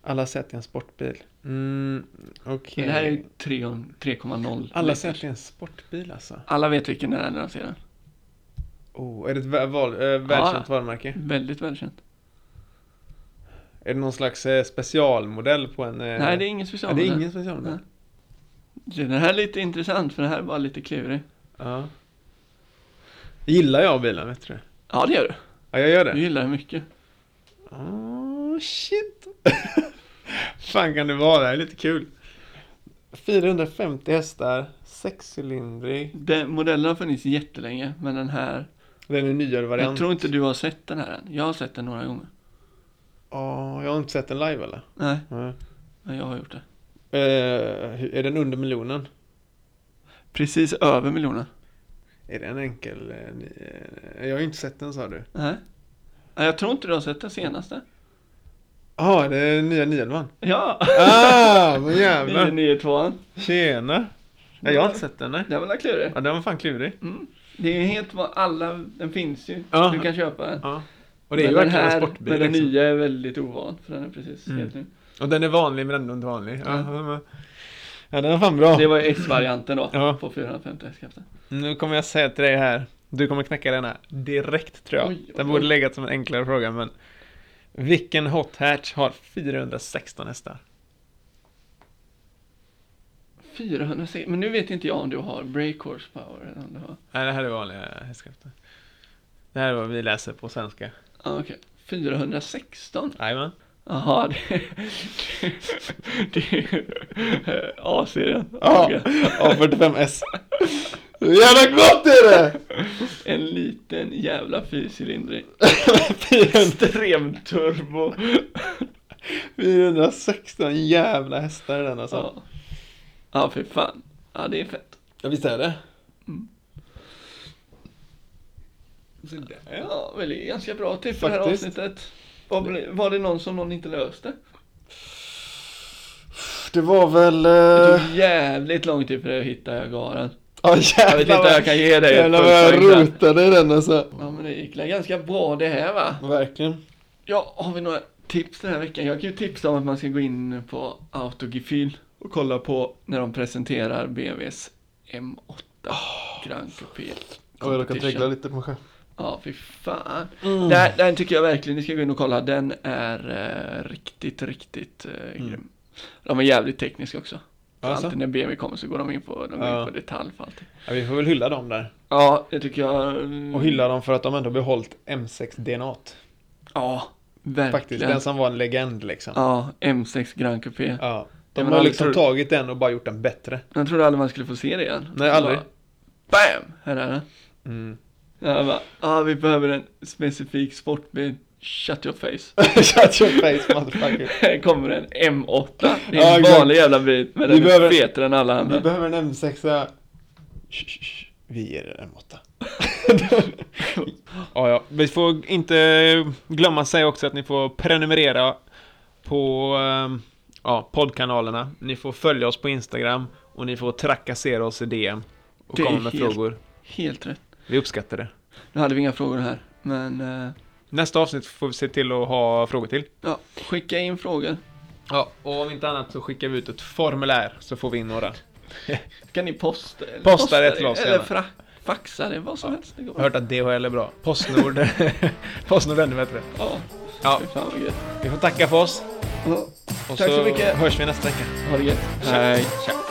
Speaker 2: Alla ser att det är en sportbil. Mm, okej.
Speaker 1: Men det här är ju 3 och- 3,0.
Speaker 2: Alla
Speaker 1: liters.
Speaker 2: ser att det är en sportbil alltså.
Speaker 1: Alla vet vilken det är när de ser den.
Speaker 2: Oh, är det ett vä- val, eh, välkänt varumärke?
Speaker 1: Väldigt välkänt.
Speaker 2: Är det någon slags eh, specialmodell på en... Eh...
Speaker 1: Nej, det är ingen
Speaker 2: ja,
Speaker 1: special.
Speaker 2: det är ingen specialmodell.
Speaker 1: Den här är lite intressant för den här var lite klurig.
Speaker 2: Ja. Gillar jag bilen, vet du?
Speaker 1: Ja, det gör du.
Speaker 2: Ja, jag gör det.
Speaker 1: Du gillar den mycket.
Speaker 2: Oh, shit. fan kan det vara? Det här är lite kul. 450 hästar, sexcylindrig.
Speaker 1: Den, modellen har funnits jättelänge, men den här...
Speaker 2: Det är en nyare variant.
Speaker 1: Jag tror inte du har sett den här än. Jag har sett den några gånger.
Speaker 2: Ja, jag har inte sett den live eller?
Speaker 1: Nej,
Speaker 2: Nej.
Speaker 1: men jag har gjort det.
Speaker 2: Eh, hur- är den under miljonen?
Speaker 1: Precis över miljonen.
Speaker 2: Är det en enkel? eh, ny- eh, jag har ju inte sett den sa du.
Speaker 1: Nej. Nej, Jag tror inte du har sett den senaste.
Speaker 2: Ja, ah, det är den nya Nielvan.
Speaker 1: Ja!
Speaker 2: Ah, vad
Speaker 1: Nio-
Speaker 2: jävlar.
Speaker 1: nio tvåan.
Speaker 2: Tjena. Ja, jag har inte sett den nej.
Speaker 1: Den var väl klurig?
Speaker 2: Ja, den var fan klurig.
Speaker 1: Mm. Det är ju helt vad alla... Den finns ju.
Speaker 2: Ja.
Speaker 1: Du kan köpa den.
Speaker 2: Ja. Och det är
Speaker 1: Men
Speaker 2: ju
Speaker 1: den
Speaker 2: verkligen en
Speaker 1: här,
Speaker 2: sportbil.
Speaker 1: Men den
Speaker 2: liksom.
Speaker 1: nya är väldigt ovan, för den är precis
Speaker 2: Mm.
Speaker 1: helt ny.
Speaker 2: Och den är vanlig men ändå inte vanlig. Ja,
Speaker 1: Ja.
Speaker 2: men- ja den var fan bra.
Speaker 1: Det var ju X-varianten då,
Speaker 2: Ja.
Speaker 1: på 450 hästkrafter.
Speaker 2: Nu kommer jag säga till dig här, du kommer knäcka denna direkt tror jag.
Speaker 1: Oj, oj,
Speaker 2: den borde
Speaker 1: oj.
Speaker 2: legat som en enklare fråga men Vilken hot hatch har 416 hästar?
Speaker 1: 460, men nu vet inte jag om du har break horsepower eller om du har...
Speaker 2: Nej det här är vanliga hästkrafter. Det här är vad vi läser på svenska.
Speaker 1: Ja, okej. 416?
Speaker 2: Jajamän.
Speaker 1: Jaha, det... det är A-serien.
Speaker 2: A45S. Hur jävla gott är det?
Speaker 1: En liten jävla fyrcylindrig.
Speaker 2: 400
Speaker 1: Extremturbo.
Speaker 2: 416 jävla hästar i den alltså.
Speaker 1: Ja. ja, för fan. Ja, det är fett.
Speaker 2: Ja visst är det?
Speaker 1: Mm.
Speaker 2: Sådär.
Speaker 1: Ja, väl det är ganska bra till för det här
Speaker 2: Faktiskt.
Speaker 1: avsnittet. Var, ble- var det någon som någon inte löste?
Speaker 2: Det var väl...
Speaker 1: Det
Speaker 2: eh,
Speaker 1: tog jävligt lång tid för dig att hitta Jagaren.
Speaker 2: Ja
Speaker 1: Jag vet inte om jag kan ge dig ett
Speaker 2: Jävlar vad jag
Speaker 1: punkt för den.
Speaker 2: rotade i den alltså.
Speaker 1: Ja, men det gick väl ganska bra det här va?
Speaker 2: Verkligen.
Speaker 1: Ja, har vi några tips den här veckan? Jag kan ju tipsa om att man ska gå in på Autogefyl och kolla på när de presenterar BMWs M8 Grand Coupé
Speaker 2: Och Ah, jag råkade
Speaker 1: Competition.
Speaker 2: tegla lite kanske.
Speaker 1: Ja, fy fan.
Speaker 2: Mm.
Speaker 1: Den, den tycker jag verkligen ni ska gå in och kolla. Den är eh, riktigt, riktigt eh,
Speaker 2: Mm.
Speaker 1: grym. De är jävligt tekniska också. För
Speaker 2: Alltså?
Speaker 1: Alltid när BMW kommer så går de in på, de går
Speaker 2: Ja.
Speaker 1: in på detalj för allting.
Speaker 2: Ja, vi får väl hylla dem där.
Speaker 1: Ja, det tycker jag. eh,
Speaker 2: Mm. Och hylla dem för att de ändå behållit M6-DNAt.
Speaker 1: Ja, verkligen.
Speaker 2: Faktiskt, den som var en legend liksom.
Speaker 1: Ja, M6 Grand Coupé.
Speaker 2: Ja.
Speaker 1: Ja,
Speaker 2: De
Speaker 1: men
Speaker 2: har
Speaker 1: aldrig
Speaker 2: liksom
Speaker 1: tror-
Speaker 2: tagit den och bara gjort den bättre.
Speaker 1: Jag trodde aldrig man skulle få se det igen.
Speaker 2: Nej,
Speaker 1: Så
Speaker 2: aldrig.
Speaker 1: bara, Bam! Här är den.
Speaker 2: Mm.
Speaker 1: Jag bara, ah, vi behöver en specifik sportbil. Shut your face.
Speaker 2: Shut your face motherfucker.
Speaker 1: Här kommer en M8. Det
Speaker 2: Ja,
Speaker 1: är en
Speaker 2: exakt.
Speaker 1: vanlig jävla bil, men
Speaker 2: Vi
Speaker 1: den
Speaker 2: behöver-
Speaker 1: är fetare än alla andra.
Speaker 2: Vi behöver en M6. Shh, shh, shh. Vi ger er en måtta. ja, ja. Vi får inte glömma säga också att ni får prenumerera på ehm, ja, poddkanalerna. Ni får följa oss på Instagram och ni får trakassera oss i DM och
Speaker 1: Det är
Speaker 2: komma med
Speaker 1: helt-
Speaker 2: frågor.
Speaker 1: Helt rätt.
Speaker 2: Vi uppskattar det.
Speaker 1: Nu hade vi inga frågor här, men eh,
Speaker 2: Nästa avsnitt får vi se till att ha frågor till.
Speaker 1: ja, skicka in frågor.
Speaker 2: Ja, och om inte annat så skickar vi ut ett formulär så får vi in några.
Speaker 1: Kan ni posta? Eller
Speaker 2: Posta det till oss
Speaker 1: Eller
Speaker 2: gärna.
Speaker 1: fra, faxa det, vad som helst. Det går.
Speaker 2: Jag har hört att DHL är bra. Postnord. Postnord är ännu bättre.
Speaker 1: Ja,
Speaker 2: Ja.
Speaker 1: fy fan vad gött.
Speaker 2: Vi får tacka för oss.
Speaker 1: Ja,
Speaker 2: Och
Speaker 1: Tack så
Speaker 2: så
Speaker 1: mycket.
Speaker 2: hörs vi nästa vecka.
Speaker 1: Ha det gött. Hej.
Speaker 2: Ciao.